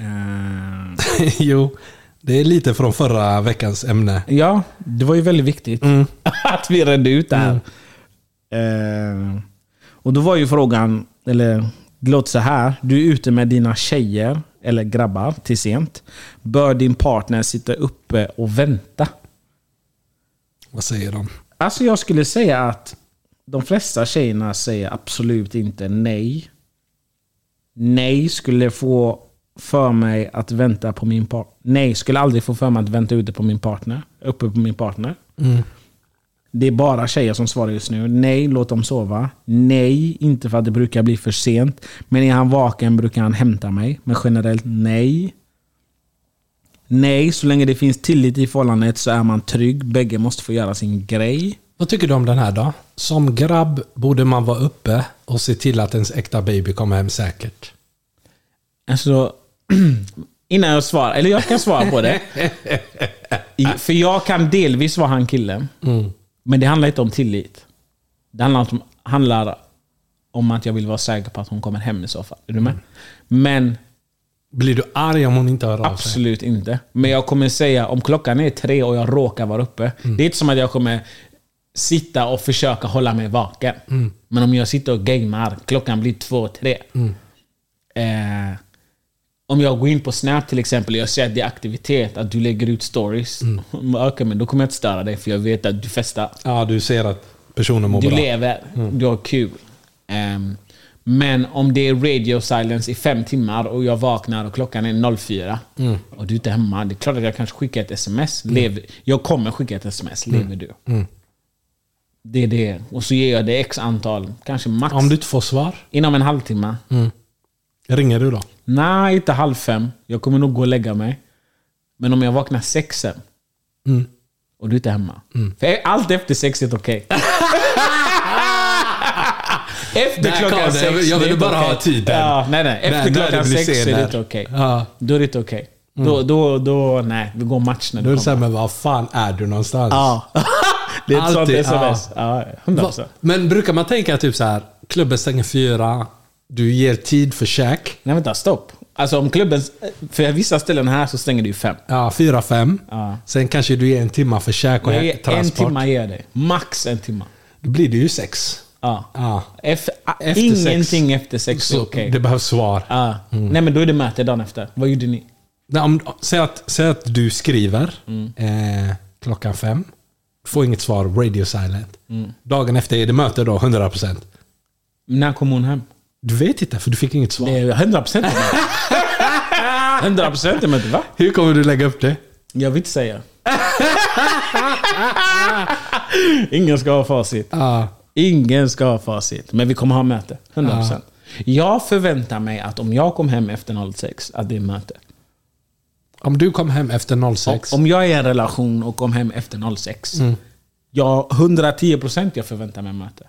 Speaker 3: Eh,
Speaker 4: jo, det är lite från förra veckans ämne.
Speaker 3: Ja, det var ju väldigt viktigt att vi redde ut det här. Eh, och då var ju frågan, eller det låter så här. Du är ute med dina tjejer, eller grabbar, till sent. Bör din partner sitta uppe och vänta?
Speaker 4: Vad säger de?
Speaker 3: Alltså jag skulle säga att de flesta tjejerna säger absolut inte nej. Nej skulle få för mig att vänta på min partner. Nej skulle aldrig få för mig att vänta ute på min partner. Uppe på min partner. Det är bara tjejer som svarar just nu. Nej, låt dem sova. Nej, inte för att det brukar bli för sent. Men är han vaken brukar han hämta mig. Men generellt nej. Nej, så länge det finns tillit i förhållandet så är man trygg. Bägge måste få göra sin grej.
Speaker 4: Vad tycker du om den här då? Som grabb borde man vara uppe och se till att ens äkta baby kommer hem säkert.
Speaker 3: Alltså, innan jag svarar, eller jag kan svara på det. I- För jag kan delvis vara han killen. Men det handlar inte om tillit. Det handlar om, handlar om att jag vill vara säker på att hon kommer hem i så fall. Är du med? Men
Speaker 4: Blir du arg om hon inte hör av sig?
Speaker 3: Absolut inte. Men jag kommer säga, om klockan är tre och jag råkar vara uppe.
Speaker 4: Mm.
Speaker 3: Det är inte som att jag kommer sitta och försöka hålla mig vaken.
Speaker 4: Mm.
Speaker 3: Men om jag sitter och gamear, klockan blir två, tre.
Speaker 4: Mm.
Speaker 3: Eh, om jag går in på Snap till exempel och jag ser att det är aktivitet, att du lägger ut stories.
Speaker 4: Mm.
Speaker 3: Okej, men då kommer jag inte störa dig för jag vet att du festar.
Speaker 4: Ja, du ser att personen mår
Speaker 3: Du
Speaker 4: bra. Mm.
Speaker 3: lever, du har kul. Ehm, men om det är radio silence i fem timmar och jag vaknar och klockan är 04
Speaker 4: Mm.
Speaker 3: och du är inte hemma. Det är klart att jag kanske skickar ett sms. Lever, jag kommer skicka ett sms.
Speaker 4: Mm.
Speaker 3: Lever du? Det är det. Och så ger jag det x antal, kanske max,
Speaker 4: Om du inte får svar,
Speaker 3: inom en halvtimme.
Speaker 4: ringer du då?
Speaker 3: Nej, inte halv fem. Jag kommer nog gå och lägga mig. Men om jag vaknar sex sen
Speaker 4: Mm.
Speaker 3: och du är inte hemma. För allt efter sex är det okej. efter
Speaker 4: Där kom
Speaker 3: klockan
Speaker 4: det.
Speaker 3: sex.
Speaker 4: Jag
Speaker 3: det är
Speaker 4: ville
Speaker 3: inte
Speaker 4: bara ha
Speaker 3: okej.
Speaker 4: tiden.
Speaker 3: Ja, nej, nej.
Speaker 4: Där-
Speaker 3: Efter
Speaker 4: där
Speaker 3: klockan
Speaker 4: det blir
Speaker 3: sex är
Speaker 4: senare.
Speaker 3: det inte okej.
Speaker 4: Ja. Mm.
Speaker 3: Då är det inte okej. Då, då, då, nej. Vi går match när
Speaker 4: Då är
Speaker 3: du
Speaker 4: det såhär,
Speaker 3: kommer.
Speaker 4: men vad fan är du någonstans?
Speaker 3: Ja. det är ett sånt
Speaker 4: Alltid,
Speaker 3: sms. Ja, 100%.
Speaker 4: Va, men brukar man tänka typ så här, klubben stänger fyra, du ger tid för käk.
Speaker 3: Nej, vänta. Stopp. Alltså om klubben... För vissa ställen här så stänger det ju fem.
Speaker 4: Ja, fyra, fem.
Speaker 3: Ja.
Speaker 4: Sen kanske du ger en timma för käk och
Speaker 3: Nej, En
Speaker 4: transport.
Speaker 3: timme ger jag dig. Max en timme.
Speaker 4: Då blir det ju sex.
Speaker 3: Ja.
Speaker 4: Ja.
Speaker 3: Eff- a-
Speaker 4: Efter sex.
Speaker 3: ingenting Ah. efter sex är
Speaker 4: Så
Speaker 3: okej.
Speaker 4: Det behövs svar.
Speaker 3: Ja. Nej men då är det möte dagen efter. Mm. Vad gjorde ni?
Speaker 4: Nej, Om, säg, att, säg att du skriver eh, klockan fem. Får inget svar, radio silent. Dagen efter är det möte då, 100%.
Speaker 3: När kom hon hem?
Speaker 4: Du vet inte, för du fick inget svar.
Speaker 3: Det är 100 procent möte. 100 procent möte, va?
Speaker 4: Hur kommer du lägga upp det?
Speaker 3: Jag vill inte säga. Ingen ska ha facit.
Speaker 4: Ja.
Speaker 3: Ingen ska ha facit. Men vi kommer ha möte. 100 procent. Ah. Jag förväntar mig att om jag kom hem efter 06, att det är möte.
Speaker 4: Om du kom hem efter 06.
Speaker 3: Och om jag är i en relation och kom hem efter 06, jag 110 procent jag förväntar mig möte.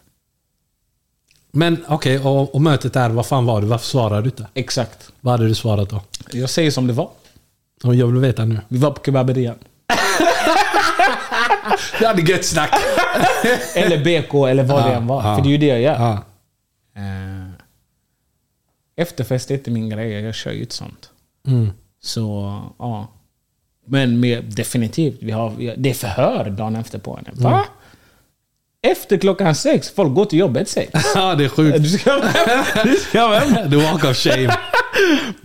Speaker 4: Men okej, och, och mötet är, vad fan var det? Varför svarar du inte?
Speaker 3: Exakt.
Speaker 4: Vad hade du svarat då?
Speaker 3: Jag säger som det var.
Speaker 4: Ja, Jag vill veta nu.
Speaker 3: Vi var på kebaberian.
Speaker 4: Det hade gött snack.
Speaker 3: Eller BK eller vad det än var.
Speaker 4: ja.
Speaker 3: För det är ju det jag gör.
Speaker 4: ja.
Speaker 3: Eh, Efterfest är inte min grej. Jag kör ju inte sånt.
Speaker 4: Mm.
Speaker 3: Så, ja. Men med, definitivt. Vi har, vi- det är förhör dagen efter på henne. Va?
Speaker 4: Mm.
Speaker 3: Efter klockan sex. Folk går till jobbet sex.
Speaker 4: ja, det är sjukt.
Speaker 3: Du ska vara hemma. Du ska vara hemma.
Speaker 4: The walk of shame.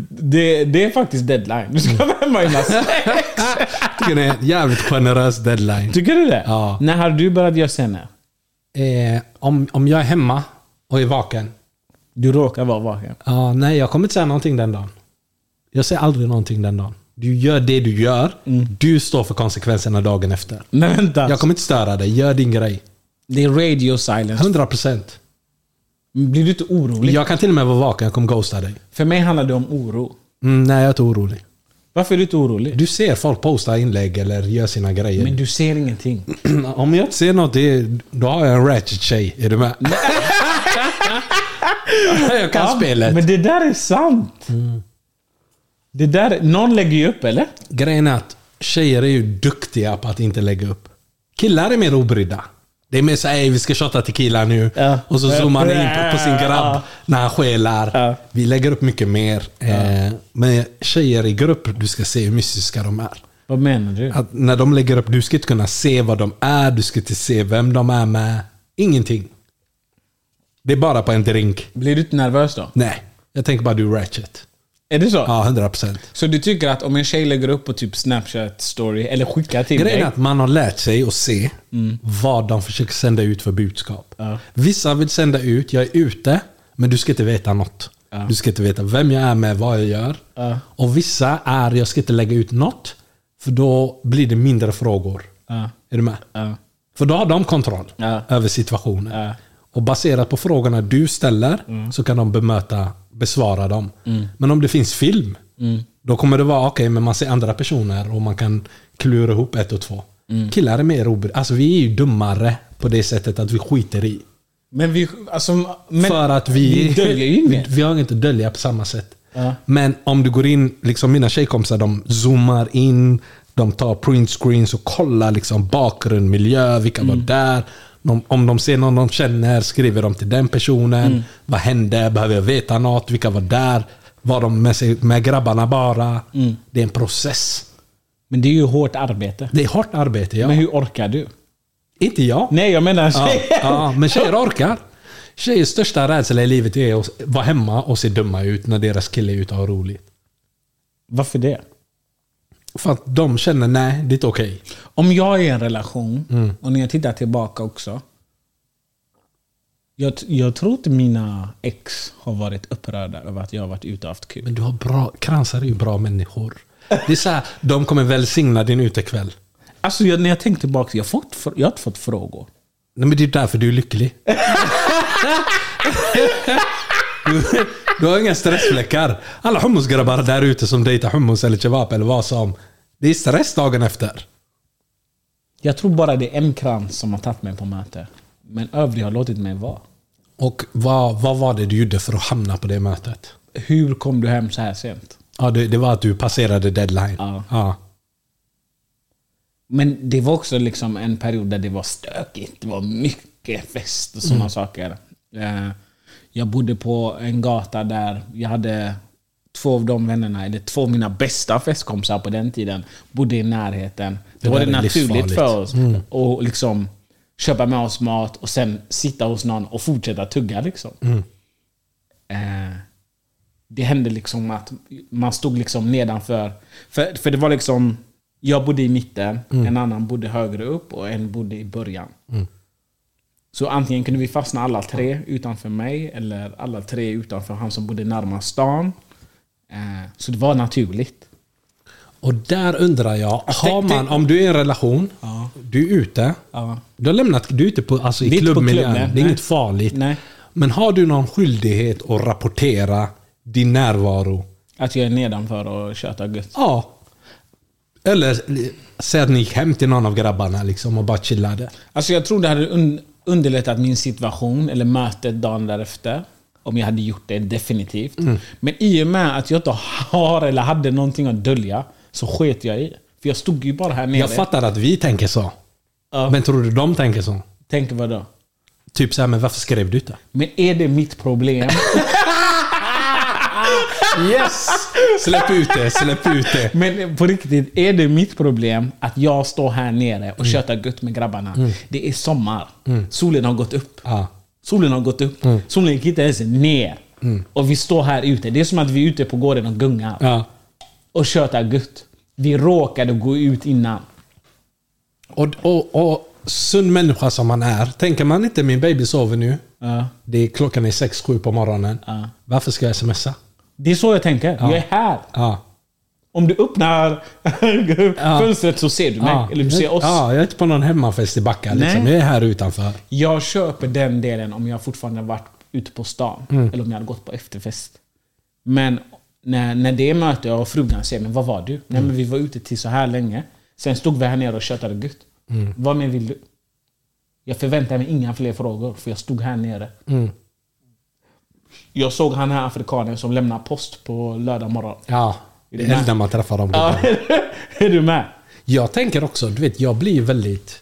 Speaker 3: Det, det är faktiskt deadline. Du ska vara hemma innan sex.
Speaker 4: Jag tycker det är en jävligt generös deadline.
Speaker 3: Tycker du det?
Speaker 4: Ja.
Speaker 3: När har du börjat göra senare?
Speaker 4: Eh, om, om jag är hemma och är vaken.
Speaker 3: Du råkar vara vaken.
Speaker 4: Ja, nej, jag kommer inte säga någonting den dagen. Jag säger aldrig någonting den dagen. Du gör det du gör.
Speaker 3: Mm.
Speaker 4: Du står för konsekvenserna dagen efter.
Speaker 3: Nej vänta.
Speaker 4: Jag kommer inte störa dig. Gör din grej.
Speaker 3: Det är radio silence.
Speaker 4: 100 procent.
Speaker 3: Blir du inte orolig?
Speaker 4: Jag kan till och med vara vaken. Jag kommer ghosta dig.
Speaker 3: För mig handlar det om oro.
Speaker 4: Mm, nej, jag är inte orolig.
Speaker 3: Varför är du inte orolig?
Speaker 4: Du ser folk posta inlägg eller gör sina grejer. Mm,
Speaker 3: Men du ser ingenting.
Speaker 4: Om jag inte ser något, det är, då har jag en ratchet tjej. Är du med? jag kan
Speaker 3: Ja,
Speaker 4: spelet. Mm.
Speaker 3: Men det där är sant. Det där, någon lägger ju upp eller?
Speaker 4: Grejen är att tjejer är ju duktiga på att inte lägga upp. Killar är mer obrydda. Det är mer såhär, "Ey, vi ska shotta tequila nu.
Speaker 3: Ja.
Speaker 4: Och så zoomar man in på, på sin grabb
Speaker 3: Ja.
Speaker 4: när han skälar.
Speaker 3: Ja.
Speaker 4: Vi lägger upp mycket mer. Eh, men tjejer i grupp, du ska se hur mystiska de är.
Speaker 3: Vad menar du?
Speaker 4: Att när de lägger upp, du ska inte kunna se vad de är, du ska inte se vem de är med. Ingenting. Det är bara på en drink.
Speaker 3: Blir du inte nervös då?
Speaker 4: Nej, jag tänker bara du är ratchet.
Speaker 3: Är det så?
Speaker 4: Ja, 100%.
Speaker 3: Så du tycker att om en tjej lägger upp på typ snapchat story eller skickar till
Speaker 4: Grejen är
Speaker 3: dig.
Speaker 4: att man har lärt sig att se vad de försöker sända ut för budskap.
Speaker 3: Ja.
Speaker 4: Vissa vill sända ut, jag är ute, men du ska inte veta något. Du ska inte veta vem jag är med, vad jag gör.
Speaker 3: Ja.
Speaker 4: Och vissa är, jag ska inte lägga ut något, för då blir det mindre frågor.
Speaker 3: Ja.
Speaker 4: Är du med?
Speaker 3: Ja.
Speaker 4: För då har de kontroll
Speaker 3: Ja.
Speaker 4: över situationen.
Speaker 3: Ja. Mm.
Speaker 4: Och baserat på frågorna du ställer så kan de bemöta, besvara dem. Men om det finns
Speaker 3: Mm.
Speaker 4: film, då kommer det vara okej, men man ser andra personer och man kan klura ihop ett och två.
Speaker 3: Mm.
Speaker 4: Killar är mer obrydda. Alltså vi är ju dummare på det sättet att vi skiter i.
Speaker 3: Men vi... Alltså, men,
Speaker 4: för att vi,
Speaker 3: vi döljer ju inget.
Speaker 4: Vi, vi har inget att dölja på samma sätt.
Speaker 3: Ja.
Speaker 4: Men om du går in, liksom mina tjejkompisar de zoomar in, de tar print screens och kollar liksom bakgrund, miljö, vilka var
Speaker 3: Mm.
Speaker 4: där. De, om de ser någon de känner skriver de till den personen.
Speaker 3: Mm.
Speaker 4: Vad hände? Behöver jag veta något? Vilka var där? Var de med, sig, med grabbarna bara?
Speaker 3: Mm.
Speaker 4: Det är en process.
Speaker 3: Men det är ju hårt arbete.
Speaker 4: Det är hårt arbete, ja.
Speaker 3: Men hur orkar du?
Speaker 4: Inte jag.
Speaker 3: Nej, jag menar
Speaker 4: Ja,
Speaker 3: tjejer.
Speaker 4: ja, men tjejer orkar. Tjejers största rädsla i livet är att vara hemma och se dumma ut när deras kille är ute och har roligt.
Speaker 3: Varför det?
Speaker 4: För att de känner, nej, det är inte okej.
Speaker 3: Om jag är i en relation och när jag tittar tillbaka också. Jag, t- jag tror inte mina ex har varit upprörda över att jag har varit ute och haft kul.
Speaker 4: Men du har bra, kransar är ju bra människor. Det är så här, de kommer välsigna din utekväll.
Speaker 3: Alltså jag, när jag tänker tillbaka, jag har, fått, fr- jag har inte fått frågor.
Speaker 4: Nej, men det är därför du är lycklig. Du, du har inga stressfläckar. Alla hummusgrabbar där ute som dejtar hummus eller kebab eller vad som. Det är stress dagen efter.
Speaker 3: Jag tror bara det är en krans som har tagit mig på möte. Men övriga har låtit mig vara.
Speaker 4: Och vad, vad var det du gjorde för att hamna på det mötet?
Speaker 3: Hur kom du hem så här sent?
Speaker 4: Ja, det, det var att du passerade deadline.
Speaker 3: Ja.
Speaker 4: Ja.
Speaker 3: Men det var också liksom en period där det var stökigt. Det var mycket fest och sådana
Speaker 4: Mm.
Speaker 3: saker. Eh, Jag bodde på en gata där jag hade två av de vännerna, eller två av mina bästa festkompisar på den tiden, bodde i närheten. Då
Speaker 4: Det
Speaker 3: var det
Speaker 4: där är
Speaker 3: naturligt
Speaker 4: livsfarligt. Mm.
Speaker 3: för oss att liksom köpa med oss mat och sen sitta hos någon och fortsätta tugga. Liksom.
Speaker 4: Mm.
Speaker 3: Eh, det hände liksom att man stod liksom nedanför. För, för det var liksom, jag bodde i mitten, en annan bodde högre upp och en bodde i början. Så antingen kunde vi fastna alla tre utanför mig eller alla tre utanför han som bodde närmast stan. Eh, så det var naturligt.
Speaker 4: Och där undrar jag, har
Speaker 3: Alltså, tänk-
Speaker 4: man, om du är i en relation, du är ute,
Speaker 3: Ja.
Speaker 4: du har lämnat, du är ute på, alltså,
Speaker 3: Vi
Speaker 4: i
Speaker 3: är inte på
Speaker 4: klubbmiljön,
Speaker 3: klubben,
Speaker 4: det är
Speaker 3: nej.
Speaker 4: inget farligt.
Speaker 3: Nej.
Speaker 4: Men har du någon skyldighet att rapportera din närvaro?
Speaker 3: Att jag är nedanför och tjötar gött.
Speaker 4: Ja. Eller säg att ni gick hem till någon av grabbarna liksom, och bara chillade.
Speaker 3: Alltså jag tror det hade un- underlättat min situation eller mötet dagen därefter. Om jag hade gjort det, definitivt.
Speaker 4: Mm.
Speaker 3: Men i och med att jag inte har eller hade någonting att dölja så sket jag i. För jag stod ju bara här nere.
Speaker 4: Jag fattar att vi tänker så.
Speaker 3: Ja.
Speaker 4: Men tror du de tänker så?
Speaker 3: Tänk vad då?
Speaker 4: Typ såhär, men varför skrev du inte?
Speaker 3: Men är det mitt problem?
Speaker 4: Yes! Släpp ut det, släpp ut det.
Speaker 3: Men på riktigt, är det mitt problem att jag står här nere
Speaker 4: Mm.
Speaker 3: och tjötar gött med grabbarna? Det är sommar. Solen har gått upp.
Speaker 4: Ja.
Speaker 3: Solen har gått upp.
Speaker 4: Mm.
Speaker 3: Solen gick inte ens ner. Och vi står här ute. Det är som att vi är ute på gården och gungar.
Speaker 4: Ja.
Speaker 3: och köta gött. Vi råkade gå ut innan.
Speaker 4: Och, och, och sund människa som man är, tänker man inte min baby sover nu,
Speaker 3: Ja.
Speaker 4: det är, klockan är 6-7 på morgonen.
Speaker 3: Ja.
Speaker 4: Varför ska jag smsa?
Speaker 3: Det är så jag tänker. Jag är här.
Speaker 4: Ja.
Speaker 3: Om du öppnar fönstret så ser du mig.
Speaker 4: Ja.
Speaker 3: Eller du ser oss.
Speaker 4: Ja, jag är inte på någon hemmafest i Backa. Liksom.
Speaker 3: Nej.
Speaker 4: Jag är här utanför.
Speaker 3: Jag köper den delen om jag fortfarande varit ute på stan.
Speaker 4: Mm.
Speaker 3: Eller om jag hade gått på efterfest. Men när, när det är möte och frugan säger men vad var du? Nej
Speaker 4: Mm.
Speaker 3: men vi var ute till så här länge. Sen stod vi här nere och tjötade gött.
Speaker 4: Mm.
Speaker 3: Vad mer vill du? Jag förväntar mig inga fler frågor för jag stod här nere.
Speaker 4: Mm.
Speaker 3: Jag såg han här afrikanen som lämnar post på lördag morgon.
Speaker 4: Ja.
Speaker 3: Är du
Speaker 4: Det är
Speaker 3: med?
Speaker 4: när man träffar dem.
Speaker 3: Ja, är du med?
Speaker 4: Jag tänker också, du vet, jag blir väldigt...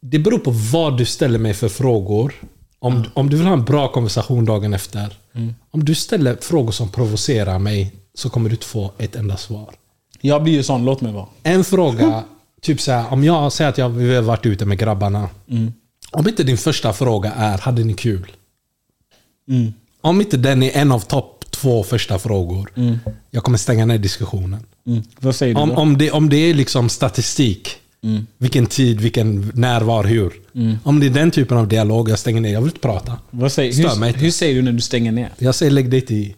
Speaker 4: Det beror på vad du ställer mig för frågor. Om, om du vill ha en bra konversation dagen efter.
Speaker 3: Mm.
Speaker 4: Om du ställer frågor som provocerar mig så kommer du inte få ett enda svar.
Speaker 3: Jag blir ju sån, låt mig vara.
Speaker 4: En fråga, typ så här, om jag säger att jag vi har varit ute med grabbarna. Om inte din första fråga är, hade ni kul? Om inte den är en av topp två första frågor. Jag kommer stänga ner diskussionen.
Speaker 3: Mm. Vad säger
Speaker 4: Om,
Speaker 3: du? Då?
Speaker 4: om, det, om det är liksom statistik. Vilken tid, vilken, när, var, hur. Om det är den typen av dialog jag stänger ner. Jag vill inte prata.
Speaker 3: Vad säger,
Speaker 4: Stör mig
Speaker 3: hur,
Speaker 4: inte.
Speaker 3: hur säger du när du stänger ner?
Speaker 4: Jag säger lägg dig inte i.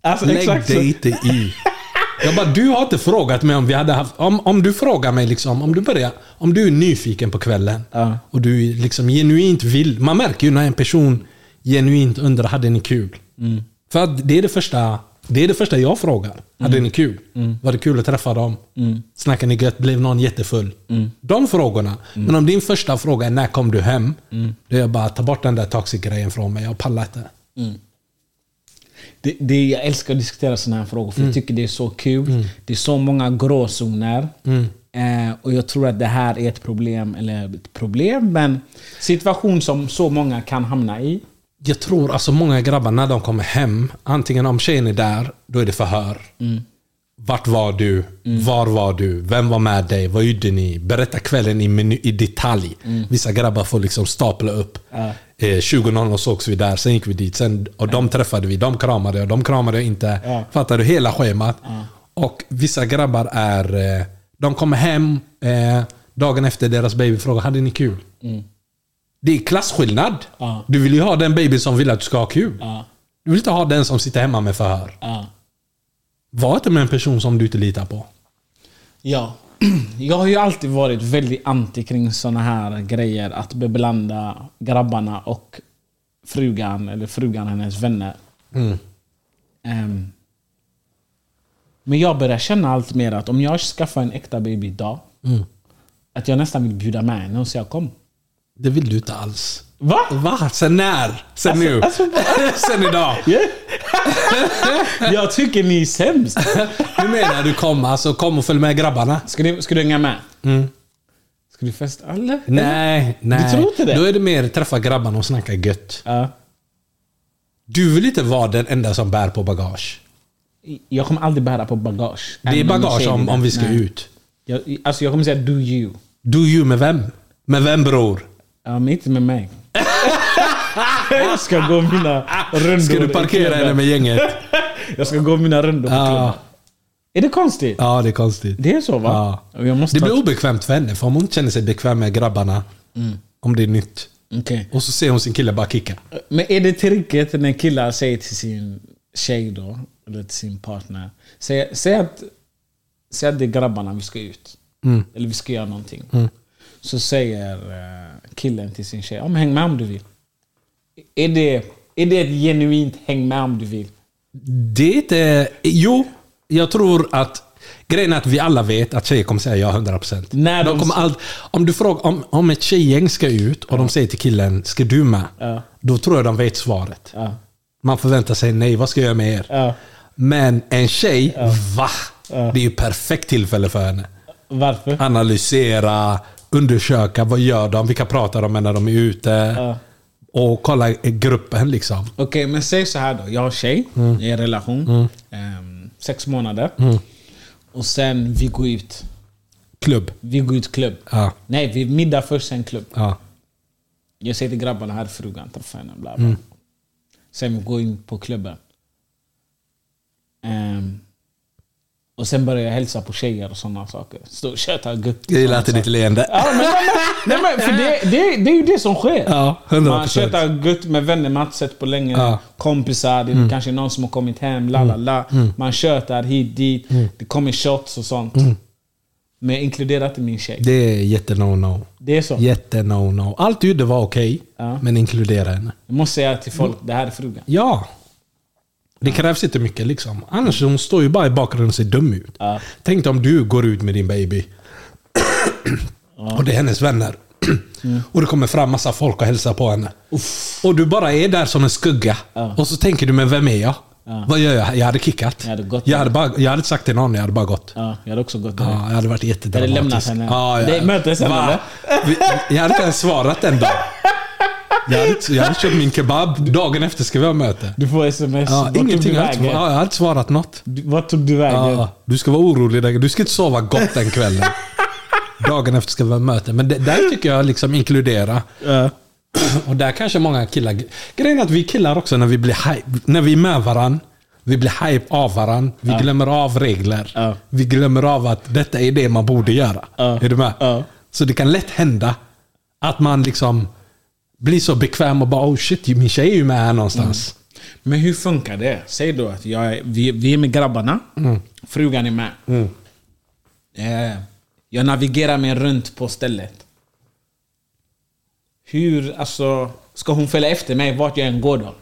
Speaker 3: Alltså,
Speaker 4: Lägg
Speaker 3: exakt så.
Speaker 4: dig inte i. Jag bara, du har inte frågat mig om vi hade haft... Om, om du frågar mig liksom, om du börjar... Om du är nyfiken på kvällen
Speaker 3: Ja.
Speaker 4: och du liksom genuint vill... Mm. Man märker ju när en person genuint undrar, hade ni kul? För att det är det första Det är det första jag frågar. Hade ni kul? Var det kul att träffa dem? Mm. Snackade ni gött? Blev någon jättefull? De frågorna. Men om din första fråga är när kom du hem? Då är jag bara, ta bort den där toxic-grejen från mig. Jag pallar inte.
Speaker 3: Det, det, jag älskar att diskutera sådana här frågor för jag tycker det är så kul. Det är så många gråzoner. Eh, och jag tror att det här är ett problem, eller ett problem, men situation som så många kan hamna i.
Speaker 4: Jag tror alltså många grabbar när de kommer hem, antingen om tjejen är där, då är det förhör. Vart var du? Var var du? Vem var med dig? Vad gjorde ni? Berätta kvällen i, menu, i detalj. Vissa grabbar får liksom stapla upp. Eh, 20.00 sågs vi där, sen gick vi dit. Sen, och de träffade vi, de kramade och de kramade inte.
Speaker 3: Ja.
Speaker 4: Fattar du? Hela schemat. Och vissa grabbar är... eh, De kommer hem, eh, dagen efter deras baby frågar hade ni kul? Det är klasskillnad.
Speaker 3: Ja.
Speaker 4: Du vill ju ha den baby som vill att du ska ha kul.
Speaker 3: Ja.
Speaker 4: Du vill inte ha den som sitter hemma med förhör.
Speaker 3: Ja.
Speaker 4: Var inte med en person som du inte litar på.
Speaker 3: Ja. Jag har ju alltid varit väldigt anti kring såna här grejer. Att beblanda grabbarna och frugan, eller frugan och hennes vänner. Ehm. men jag börjar känna allt mer att om jag skaffar en äkta baby idag, att jag nästan vill bjuda med henne och säga kom. Mm.
Speaker 4: Det vill du inte alls.
Speaker 3: Va?
Speaker 4: Va? Sen när?
Speaker 3: Alltså,
Speaker 4: Sen nu? Sen idag?
Speaker 3: jag tycker ni är sämst.
Speaker 4: Du menar du kommer? Alltså kom och följ med grabbarna?
Speaker 3: Ska du, ska du hänga med? Ska du festa eller?
Speaker 4: Nej, nej.
Speaker 3: Du tror inte det?
Speaker 4: Då är det mer träffa grabbarna och snacka gött.
Speaker 3: Ja.
Speaker 4: Du vill inte vara den enda som bär på bagage.
Speaker 3: Jag kommer aldrig bära på bagage.
Speaker 4: Det är
Speaker 3: Även om jag
Speaker 4: bagage
Speaker 3: säger
Speaker 4: om,
Speaker 3: det.
Speaker 4: om vi ska
Speaker 3: Nej.
Speaker 4: ut.
Speaker 3: Jag, alltså jag kommer säga do you.
Speaker 4: Du ju med vem? Med vem bror?
Speaker 3: Ja, men inte med mig. jag ska gå mina rundor.
Speaker 4: Ska du
Speaker 3: i
Speaker 4: parkera
Speaker 3: klubben.
Speaker 4: henne med Ah. gänget?
Speaker 3: Jag ska gå mina rundor på klubben.
Speaker 4: Ja,
Speaker 3: Är det konstigt?
Speaker 4: ja det är konstigt.
Speaker 3: Det är så va?
Speaker 4: Ja.
Speaker 3: Jag måste
Speaker 4: Ah. Det
Speaker 3: ta-
Speaker 4: blir obekvämt för henne, för om hon känner sig bekväm med grabbarna,
Speaker 3: Mm.
Speaker 4: om det är nytt,
Speaker 3: Okej.
Speaker 4: och så ser hon sin kille bara kicka.
Speaker 3: Men är det tricket när killar säger till sin tjej då, eller till sin partner. Säg, säg, att, säg att det är grabbarna vi ska ut. Eller vi ska göra någonting. Så säger eh, killen till sin tjej, ja, men häng med om du vill. Är det, är det ett genuint häng med om du vill?
Speaker 4: Det är inte... Jo, jag tror att... Grejen är att vi alla vet att tjejer kommer säga ja 100%.
Speaker 3: När
Speaker 4: de
Speaker 3: de-
Speaker 4: kommer allt, om du frågar om, om ett tjejgäng ska ut och de säger till killen “Ska du med?”
Speaker 3: Ja.
Speaker 4: Då tror jag de vet svaret.
Speaker 3: Ja.
Speaker 4: Man förväntar sig “Nej, vad ska jag göra med er?”
Speaker 3: Ja.
Speaker 4: Men en tjej, va? Det är ju perfekt tillfälle för henne. Ah.
Speaker 3: Varför?
Speaker 4: Analysera, undersöka, vad gör de? Vilka pratar de med när de är ute? Och kolla eh, gruppen liksom.
Speaker 3: Okej, men säg så här då. Jag har tjej, jag är i en relation. Ehm, sex månader. Och sen vi går ut.
Speaker 4: Klubb.
Speaker 3: Vi går ut klubb.
Speaker 4: Ja.
Speaker 3: Nej, vi middag först, sen klubb.
Speaker 4: Ja.
Speaker 3: Jag säger till grabbarna, här är frugan, träffa henne. Bla bla.
Speaker 4: Mm.
Speaker 3: Sen vi går in på klubben. Ehm, och sen börjar jag hälsa på tjejer och sådana saker. Stå och köta gutt.
Speaker 4: Jag gillar inte ditt leende.
Speaker 3: Ja, men, nej, men, nej, men, för det, det, det är ju det som sker.
Speaker 4: Ja, 100%.
Speaker 3: Man tjötar gött med vänner man inte sett på länge.
Speaker 4: Ja. Mm.
Speaker 3: Kompisar, det är kanske någon som har kommit hem, la la la. Man tjötar hit dit.
Speaker 4: Mm.
Speaker 3: Det kommer shots och sånt. Men jag inkluderar inte min tjej.
Speaker 4: Det är jätte no-no.
Speaker 3: Det är så.
Speaker 4: Jätte no-no. Allt du gjorde var okej,
Speaker 3: Ja.
Speaker 4: men inkludera henne.
Speaker 3: Jag måste säga till folk, det här är frugan.
Speaker 4: Ja. Det krävs inte mycket liksom. Annars hon står ju bara i bakgrunden och ser dum ut.
Speaker 3: Ja.
Speaker 4: Tänk dig om du går ut med din baby. Och det är hennes vänner.
Speaker 3: Mm.
Speaker 4: Och det kommer fram massa folk och hälsar på henne. Och du bara är där som en skugga.
Speaker 3: Ja.
Speaker 4: Och så tänker du, men vem är jag? Vad gör jag? Jag hade kickat.
Speaker 3: Jag hade gått.
Speaker 4: jag, hade bara, jag hade inte sagt till någon, jag hade bara gått.
Speaker 3: Ja, jag hade också gått direkt.
Speaker 4: Ja, jag hade varit jättedramatisk.
Speaker 3: Hade lämnat henne?
Speaker 4: Ja, jag-
Speaker 3: Det är mötes sen,
Speaker 4: Va?
Speaker 3: eller?
Speaker 4: Vi- Jag hade inte ens svarat den dagen. Jag hade, inte- jag hade köpt min kebab, dagen efter ska vi ha möte.
Speaker 3: Du får sms.
Speaker 4: Ja,
Speaker 3: Vart tog
Speaker 4: ingenting,
Speaker 3: du
Speaker 4: jag, hade, inte-
Speaker 3: vägen?
Speaker 4: ja, jag hade inte svarat något.
Speaker 3: Du- Vart tog du vägen?
Speaker 4: Ja, du ska vara orolig, den- du ska inte sova gott den kvällen. Dagen efter ska vi ha möte. Men det, där tycker jag liksom inkludera.
Speaker 3: Ja.
Speaker 4: Och där kanske många killar... Grejen är att vi killar också när vi blir hype, när vi är med varann. Vi blir hype av varann. Vi glömmer av regler.
Speaker 3: Ja.
Speaker 4: Vi glömmer av att detta är det man borde göra.
Speaker 3: Ja.
Speaker 4: Är du med?
Speaker 3: Ja.
Speaker 4: Så det kan lätt hända att man liksom blir så bekväm och bara oh shit, min tjej är ju med här
Speaker 3: Mm.
Speaker 4: någonstans.
Speaker 3: Men hur funkar det? Säg då att jag är, vi, vi är med grabbarna,
Speaker 4: Mm.
Speaker 3: frugan är med. Eh, jag navigerar mig runt på stället. Hur, alltså, ska hon följa efter mig vart jag än går då?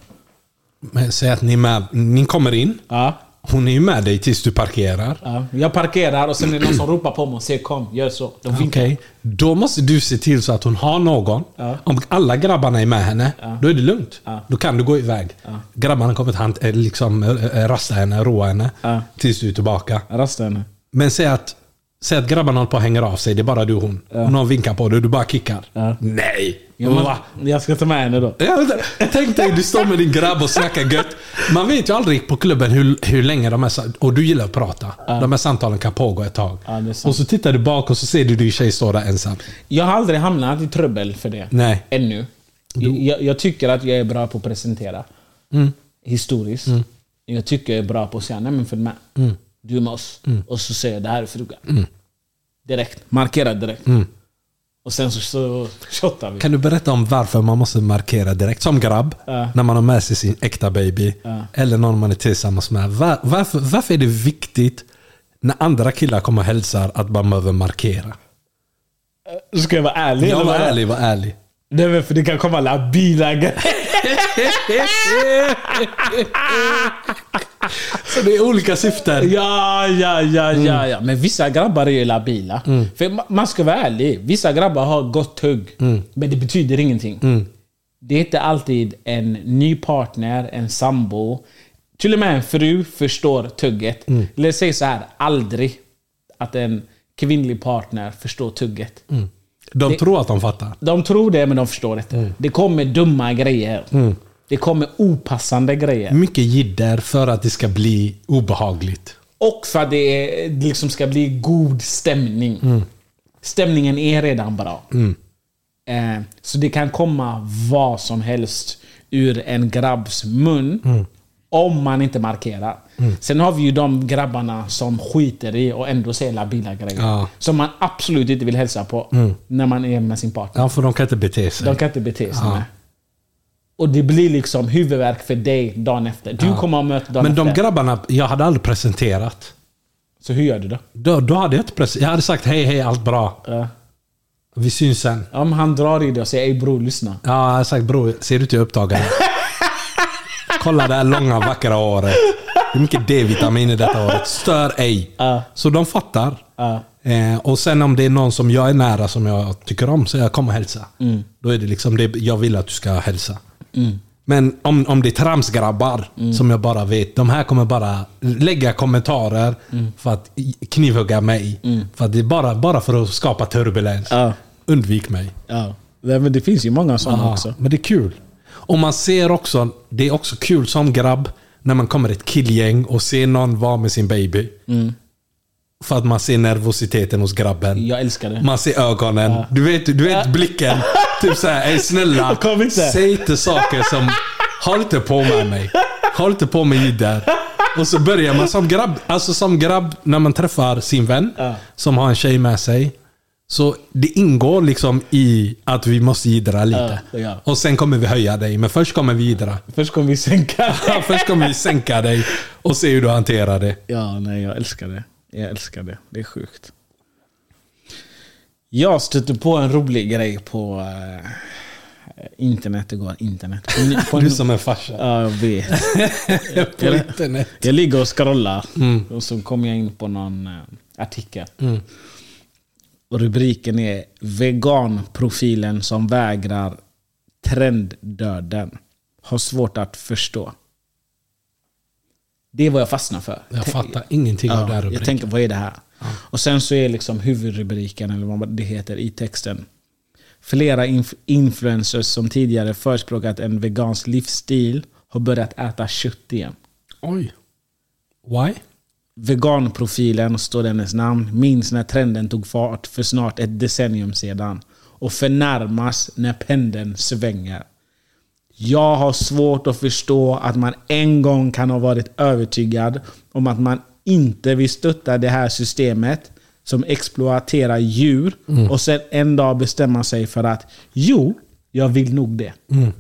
Speaker 4: Men säg att ni, är med, ni kommer in.
Speaker 3: Ja.
Speaker 4: Hon är ju med dig tills du parkerar.
Speaker 3: Ja, jag parkerar och sen är det någon som ropar på mig och säger kom, gör så. De vinkar.
Speaker 4: Okej. Då måste du se till så att hon har någon.
Speaker 3: Ja.
Speaker 4: Om alla grabbarna är med henne, då är det lugnt.
Speaker 3: Ja.
Speaker 4: Då kan du gå iväg. Grabbarna kommer att hand, eh, liksom, eh, eh, rasta henne, roa henne,
Speaker 3: Ja.
Speaker 4: tills du är tillbaka.
Speaker 3: Jag rastar henne.
Speaker 4: Men säg att, säg att grabbarna håller på och hänger av sig, det är bara du och hon. Någon vinkar på dig och du bara kickar.
Speaker 3: Ja.
Speaker 4: Nej!
Speaker 3: Ja,
Speaker 4: Va?
Speaker 3: men, jag ska ta med henne då.
Speaker 4: Ja, vänta. Tänk dig, du står med din grabb och snackar gött. Man vet ju aldrig på klubben hur, hur länge de här... sa- Och du gillar att prata. De här samtalen kan pågå ett tag.
Speaker 3: Ja, det är sant.
Speaker 4: och så tittar du bak och så ser du din tjej stå där ensam.
Speaker 3: Jag har aldrig hamnat i trubbel för det.
Speaker 4: Nej.
Speaker 3: Ännu. Jag, jag tycker att jag är bra på att presentera. Mm. Historiskt. Jag tycker jag är bra på att säga, nej men följ med. Du är med oss. Och så säger jag, det här är frugan. Direkt. Markera direkt. Och sen så, så shottar vi.
Speaker 4: Kan du berätta om varför man måste markera direkt som grabb?
Speaker 3: Ja.
Speaker 4: När man har med sig sin äkta baby.
Speaker 3: Ja.
Speaker 4: Eller någon man är tillsammans med. Var, varför, varför är det viktigt när andra killar kommer och hälsar att man behöver markera?
Speaker 3: Ska jag vara ärlig?
Speaker 4: Jag
Speaker 3: eller
Speaker 4: var
Speaker 3: vad?
Speaker 4: ärlig, var ärlig.
Speaker 3: Nej men för det kan komma labila grejer.
Speaker 4: Så det är olika syften.
Speaker 3: Ja, ja, ja, ja, ja. Men vissa grabbar är ju labila. För ma- man ska vara ärlig. Vissa grabbar har gott tugg. Men det betyder ingenting. Det är inte alltid en ny partner, en sambo. Till och med en fru förstår tugget. Eller säg så här, aldrig att en kvinnlig partner förstår tugget.
Speaker 4: De tror att de fattar.
Speaker 3: De tror det, men de förstår inte. Det kommer dumma grejer. Det kommer opassande grejer.
Speaker 4: Mycket jidder för att det ska bli obehagligt.
Speaker 3: Och för att det är- det liksom ska bli god stämning.
Speaker 4: Mm.
Speaker 3: Stämningen är redan bra. Eh, så det kan komma vad som helst ur en grabbs mun.
Speaker 4: Mm.
Speaker 3: Om man inte markerar. Sen har vi ju de grabbarna som skiter i och ändå säger labila grejer.
Speaker 4: Ja. Mm.
Speaker 3: Som man absolut inte vill hälsa på när man är med sin partner.
Speaker 4: Ja, för de kan inte bete sig.
Speaker 3: De kan inte bete sig
Speaker 4: Ja.
Speaker 3: med. Och det blir liksom huvudvärk för dig dagen efter. Du kommer att möta dagen
Speaker 4: Men de
Speaker 3: efter.
Speaker 4: grabbarna, jag hade aldrig presenterat.
Speaker 3: så hur gör du då?
Speaker 4: Då, då hade jag inte presenterat. Jag hade sagt hej, hej, allt bra.
Speaker 3: Ja.
Speaker 4: Vi syns sen.
Speaker 3: Om han drar i det och säger ey bror, lyssna.
Speaker 4: Ja, jag hade sagt bror, ser du till upptagaren? Kolla det här långa vackra håret. Det är mycket D-vitamin i detta håret. Stör ej.
Speaker 3: Ja.
Speaker 4: Så de fattar.
Speaker 3: Ja.
Speaker 4: Eh, och sen om det är någon som jag är nära som jag tycker om, så jag kommer hälsa.
Speaker 3: Mm.
Speaker 4: Då är det liksom det jag vill att du ska hälsa. Men om, om det är tramsgrabbar
Speaker 3: Mm.
Speaker 4: som jag bara vet, de här kommer bara lägga kommentarer
Speaker 3: Mm.
Speaker 4: för att knivhugga mig. För att det är bara, bara för att skapa turbulens.
Speaker 3: Ja.
Speaker 4: Undvik mig.
Speaker 3: Ja. Nej, men det finns ju många sådana
Speaker 4: Ja,
Speaker 3: också.
Speaker 4: Men det är kul. Och man ser också, det är också kul som grabb när man kommer ett killgäng och ser någon vara med sin baby. För att man ser nervositeten hos grabben.
Speaker 3: Jag älskar det.
Speaker 4: Man ser ögonen. Du vet, du vet blicken. Typ såhär, ey snälla.
Speaker 3: Kom inte."
Speaker 4: Säg inte saker som, håll inte på med mig. Håll inte på med jidder. Och så börjar man som grabb. Alltså som grabb, när man träffar sin vän
Speaker 3: Ja.
Speaker 4: som har en tjej med sig. Så det ingår liksom i att vi måste jiddra lite.
Speaker 3: Ja, ja.
Speaker 4: Och sen kommer vi höja dig. Men först kommer vi jiddra.
Speaker 3: Först kommer vi sänka.
Speaker 4: först kommer vi sänka dig och se hur du hanterar det.
Speaker 3: ja, nej, jag älskar det. Jag älskar det. Det är sjukt. Jag stötte på en rolig grej på eh, internet igår. Internet. På en- På
Speaker 4: Du
Speaker 3: en,
Speaker 4: är som en farsa.
Speaker 3: ja, jag vet.
Speaker 4: På internet.
Speaker 3: Jag ligger och scrollar och så kommer jag in på någon eh, artikel. Och rubriken är Veganprofilen som vägrar trenddöden har svårt att förstå. Det är vad jag fastnar för.
Speaker 4: Jag fattar ingenting av den här
Speaker 3: Ja, jag
Speaker 4: rubriken.
Speaker 3: tänker, vad är det här? Och sen så är liksom huvudrubriken, eller vad det heter, i texten. Flera inf- influencers som tidigare förespråkat en vegansk livsstil har börjat äta kött igen.
Speaker 4: Oj. Why?
Speaker 3: Veganprofilen, står det hennes namn, minns när trenden tog fart för snart ett decennium sedan och förnärmas när pendeln svänger. Jag har svårt att förstå att man en gång kan ha varit övertygad om att man inte vill stötta det här systemet som exploaterar djur och sen en dag bestämma sig för att jo, jag vill nog det.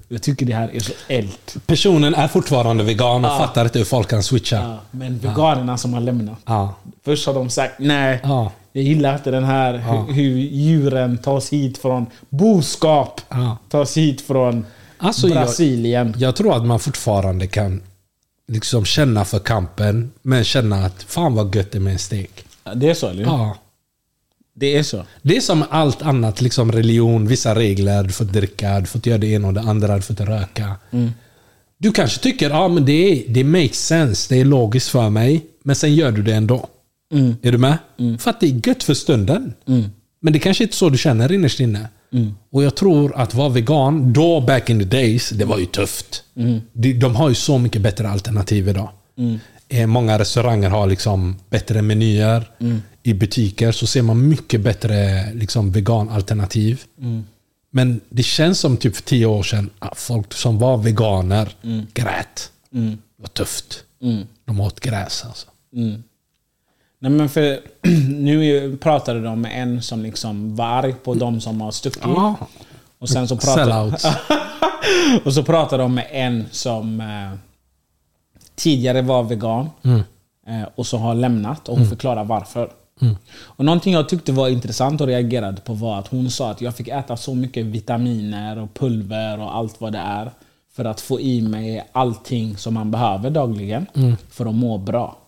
Speaker 3: Jag tycker det här är så ält.
Speaker 4: Personen är fortfarande vegan och fattar inte hur folk kan switcha. Ja.
Speaker 3: Men veganerna som har lämnat.
Speaker 4: Ah.
Speaker 3: Först har de sagt nej,
Speaker 4: Ja.
Speaker 3: jag gillar inte den här hur, hur djuren tas hit från boskap.
Speaker 4: Ja.
Speaker 3: Tas hit från
Speaker 4: Alltså, jag-
Speaker 3: Brasilien.
Speaker 4: Jag tror att man fortfarande kan liksom känna för kampen, men känna att fan vad gött det är med en stek.
Speaker 3: Det är så eller hur?
Speaker 4: Ja.
Speaker 3: Det är så.
Speaker 4: Det är som allt annat, liksom religion, vissa regler, du får dricka, du får inte göra det ena och det andra, du får inte röka. Du kanske tycker ja, men det, är- det makes sense, det är logiskt för mig, men sen gör du det ändå. Är du med? För att det är gött för stunden. Men det kanske inte är så du känner innerst inne. Och jag tror att vara vegan, då back in the days, det var ju tufft. De, de har ju så mycket bättre alternativ idag. Eh, Många restauranger har liksom bättre menyer. I butiker så ser man mycket bättre liksom, veganalternativ. Men det känns som typ för tio år sedan att folk som var veganer grät. Det var tufft. De åt gräs alltså.
Speaker 3: Nej, men för, nu är- pratade de med en som liksom var arg på de som har stuckit.
Speaker 4: Ja.
Speaker 3: Och sen så pratade,
Speaker 4: Sellouts.
Speaker 3: och så pratade de med en som eh, tidigare var vegan
Speaker 4: Mm.
Speaker 3: eh, och som har lämnat och förklarar varför.
Speaker 4: Mm.
Speaker 3: Och Någonting jag tyckte var intressant och reagerade på var att hon sa att jag fick äta så mycket vitaminer och pulver och allt vad det är för att få i mig allting som man behöver dagligen för att må bra.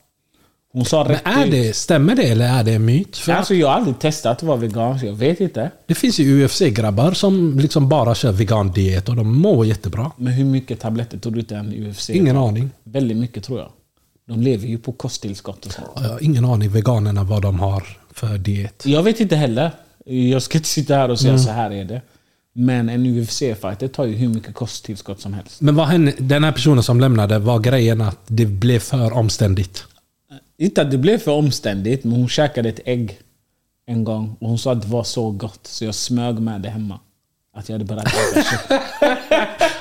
Speaker 3: Hon sa
Speaker 4: Mm. Men
Speaker 3: rätt
Speaker 4: är
Speaker 3: ut-
Speaker 4: det, stämmer det eller är det en myt? För
Speaker 3: Alltså, jag har aldrig testat att vara vegan, så jag vet inte.
Speaker 4: Det finns ju UFC-grabbar som liksom bara kör vegan-diet och de mår jättebra.
Speaker 3: Men hur mycket tabletter tog du inte en UFC?
Speaker 4: Ingen aning.
Speaker 3: Väldigt mycket tror jag. De lever ju på kosttillskott och sånt.
Speaker 4: Jag har ingen aning veganerna vad de har för diet.
Speaker 3: Jag vet inte heller. Jag ska inte sitta här och säga så här är det. Men en UFC-fighter tar ju hur mycket kosttillskott som helst.
Speaker 4: Men vad hände, den här personen som lämnade, var grejen att det blev för omständigt?
Speaker 3: Inte att det blev för omständigt, men hon käkade ett ägg en gång och hon sa att det var så gott så jag smög med det hemma. Att jag hade börjat äta kött.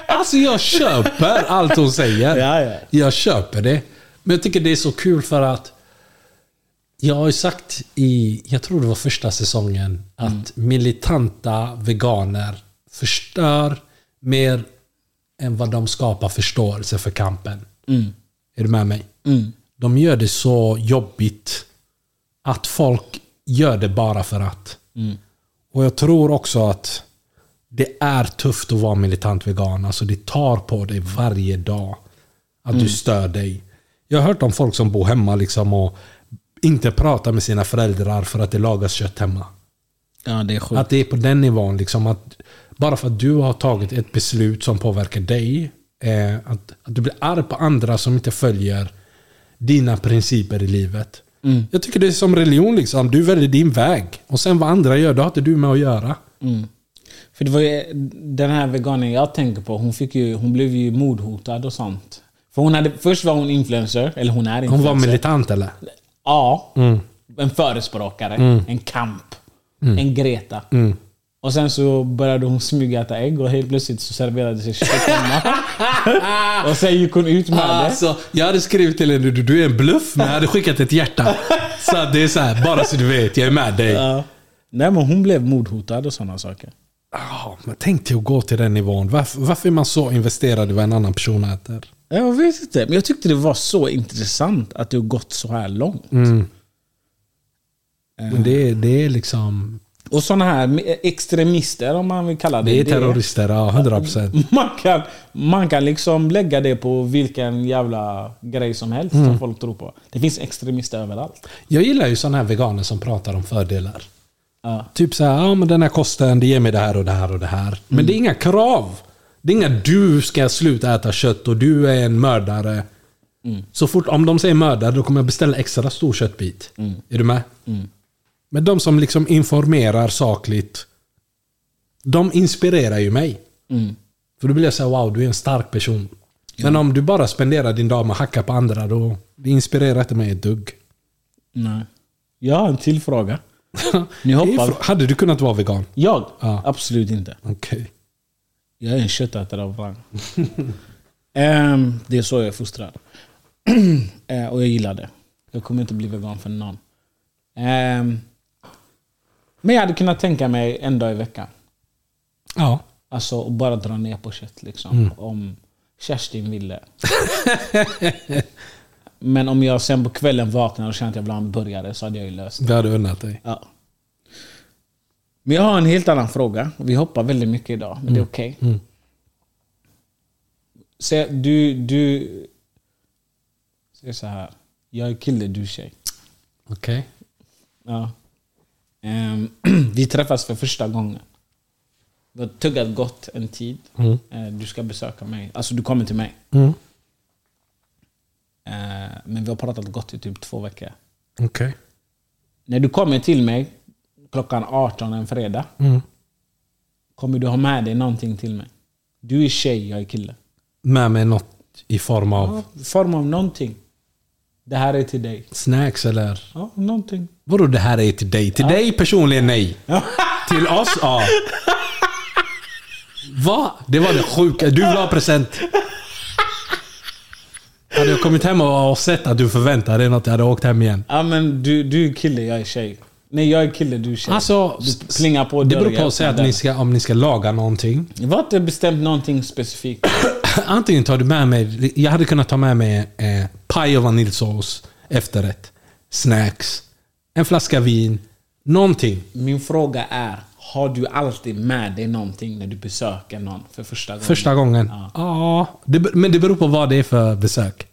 Speaker 4: Alltså jag köper allt hon säger.
Speaker 3: Ja, ja.
Speaker 4: Jag köper det. Men jag tycker det är så kul för att jag har ju sagt i, jag tror det var första säsongen, att
Speaker 3: Mm.
Speaker 4: militanta veganer förstör mer än vad de skapar förståelse för kampen.
Speaker 3: Mm.
Speaker 4: Är du med mig? De gör det så jobbigt att folk gör det bara för att.
Speaker 3: Mm.
Speaker 4: Och jag tror också att det är tufft att vara militant vegan. Alltså det tar på dig varje dag att du stör dig. Jag har hört om folk som bor hemma liksom och inte pratar med sina föräldrar för att det lagas kött hemma.
Speaker 3: Ja, det är sjukt.
Speaker 4: Att det är på den nivån. Liksom, att bara för att du har tagit ett beslut som påverkar dig. Eh, att, att du blir arg på andra som inte följer dina principer i livet. Jag tycker det är som religion. Liksom. Du väljer din väg. Och sen vad andra gör, det har inte du med att göra.
Speaker 3: För det var ju den här veganen jag tänker på, hon, fick ju, hon blev ju mordhotad och sånt. För hon hade, först var hon influencer, eller hon är influencer.
Speaker 4: Hon var militant eller?
Speaker 3: Ja. En förespråkare. En kamp. En Greta. Och sen så började hon smyga äta ägg och helt plötsligt så serverade sig kött hemma. och sen gick hon ut med det.
Speaker 4: Alltså, jag hade skrivit till henne, du, du är en bluff, men jag hade skickat ett hjärta. Så att det är så här, bara så du vet, jag är med dig.
Speaker 3: Ja. Nej men hon blev mordhotad och sådana saker.
Speaker 4: Ah, men tänk dig att gå till den nivån. Varför, varför är man så investerad i vad en annan person äter?
Speaker 3: Jag vet inte, men jag tyckte det var så intressant att det har gått så här långt.
Speaker 4: Men det, är- det är liksom...
Speaker 3: Och sådana här extremister, om man vill kalla det
Speaker 4: Det är terrorister, ja. 100 procent.
Speaker 3: Man kan, man kan liksom lägga det på vilken jävla grej som helst som folk tror på. Det finns extremister överallt.
Speaker 4: Jag gillar ju sådana här veganer som pratar om fördelar.
Speaker 3: Ja.
Speaker 4: Typ så här, ja men den här kosten, det ger mig det här och det här och det här. Men
Speaker 3: Mm.
Speaker 4: det är inga krav. Det är inga du ska sluta äta kött och du är en mördare.
Speaker 3: Mm.
Speaker 4: Så fort, om de säger mördare, då kommer jag beställa extra stor köttbit.
Speaker 3: Mm.
Speaker 4: Är du med? Men de som liksom informerar sakligt, de inspirerar ju mig.
Speaker 3: Mm.
Speaker 4: För då blir jag så här, wow, du är en stark person. Men om du bara spenderar din dag med att hacka på andra, då det inspirerar inte mig ett dugg.
Speaker 3: Nej. Jag har en till fråga. Ni hoppar.
Speaker 4: Hade du kunnat vara vegan?
Speaker 3: Jag?
Speaker 4: Ja.
Speaker 3: Absolut inte.
Speaker 4: Okej.
Speaker 3: Jag är en köttätare av rang. Ehm, det är så jag är fostrad. Ehm, och jag gillar det. Jag kommer inte bli vegan för någon. Ehm, men jag hade kunnat tänka mig en dag i veckan.
Speaker 4: Ja.
Speaker 3: Alltså och bara dra ner på kött liksom. Om Kerstin ville. Men om jag sen på kvällen vaknar och känner att jag vill ha en burgare så hade jag ju löst det.
Speaker 4: Det hade unnat dig.
Speaker 3: Ja. Men jag har en helt annan fråga. Vi hoppar väldigt mycket idag, men det är okej. Så Du, du, Det är så här. Jag är kille, du är tjej.
Speaker 4: Okej.
Speaker 3: Ja. Ehm, vi träffas för första gången. Vi har tuggat gott en tid. Eh, du ska besöka mig. Alltså du kommer till mig.
Speaker 4: Mm.
Speaker 3: Eh, men vi har pratat gott i typ två veckor.
Speaker 4: Okej.
Speaker 3: När du kommer till mig klockan 18 en fredag.
Speaker 4: Mm.
Speaker 3: Kommer du ha med dig någonting till mig? Du är tjej, jag är kille.
Speaker 4: Med mig något i form av
Speaker 3: Ja, i form av någonting. Det här är till dig.
Speaker 4: snacks eller?
Speaker 3: Ja, någonting.
Speaker 4: Vadå det här är till dig? Till dig personligen nej. Till oss ja. Va? Det var det sjuka. Du vill ha present. Hade jag kommit hem och och sett att du förväntade dig något, jag hade åkt hem igen.
Speaker 3: Ja, men du, du är kille, jag är tjej. Nej, jag är kille, du är tjej.
Speaker 4: Alltså,
Speaker 3: du plingar på
Speaker 4: det
Speaker 3: dörren,
Speaker 4: beror på
Speaker 3: jag
Speaker 4: att säga att
Speaker 3: öppnar
Speaker 4: ni ska, om ni ska laga någonting.
Speaker 3: dörren. Vi har inte bestämt någonting specifikt.
Speaker 4: Antingen tar du med mig, jag hade kunnat ta med mig eh, paj och vaniljsås, efterrätt, snacks, en flaska vin, någonting.
Speaker 3: Min fråga är, har du alltid med dig någonting när du besöker någon för första gången?
Speaker 4: Första gången. Ja. det, be- men det beror på vad det är för besök.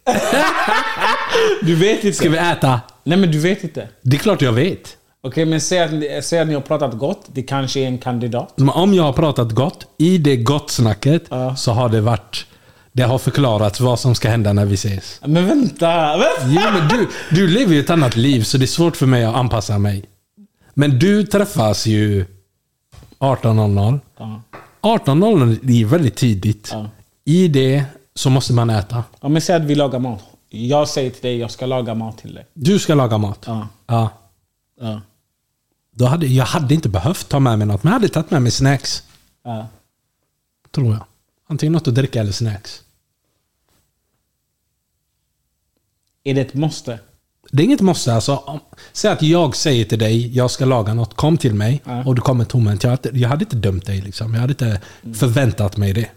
Speaker 3: Du vet inte.
Speaker 4: Ska vi äta?
Speaker 3: Nej, men du vet inte.
Speaker 4: Det är klart jag vet.
Speaker 3: Okej, men säg att, ni- säg att ni har pratat gott. Det kanske är en kandidat.
Speaker 4: Men om jag har pratat gott, i det gott-snacket,
Speaker 3: Ja.
Speaker 4: så har det varit... Det har förklarats vad som ska hända när vi ses.
Speaker 3: Men vänta! vänta.
Speaker 4: Jo, men du, du lever ju ett annat liv, så det är svårt för mig att anpassa mig. Men du träffas ju 18.00.
Speaker 3: Ja.
Speaker 4: 18.00 är ju väldigt tidigt.
Speaker 3: Ja.
Speaker 4: I det så måste man äta.
Speaker 3: Ja, men säg att vi lagar mat. Jag säger till dig, jag ska laga mat till dig.
Speaker 4: Du ska laga mat.
Speaker 3: Ja.
Speaker 4: Ja.
Speaker 3: Ja.
Speaker 4: Då hade, jag hade inte behövt ta med mig något, men jag hade tagit med mig snacks.
Speaker 3: Ja.
Speaker 4: Tror jag. Antingen något att dricka eller snacks.
Speaker 3: Är det ett måste?
Speaker 4: Det är inget måste. Alltså, om, säg att jag säger till dig, jag ska laga något, kom till mig.
Speaker 3: Ja.
Speaker 4: Och du kommer tomhänt. Jag, hade- jag hade inte dömt dig. Liksom. Jag hade inte
Speaker 3: Mm.
Speaker 4: förväntat mig det.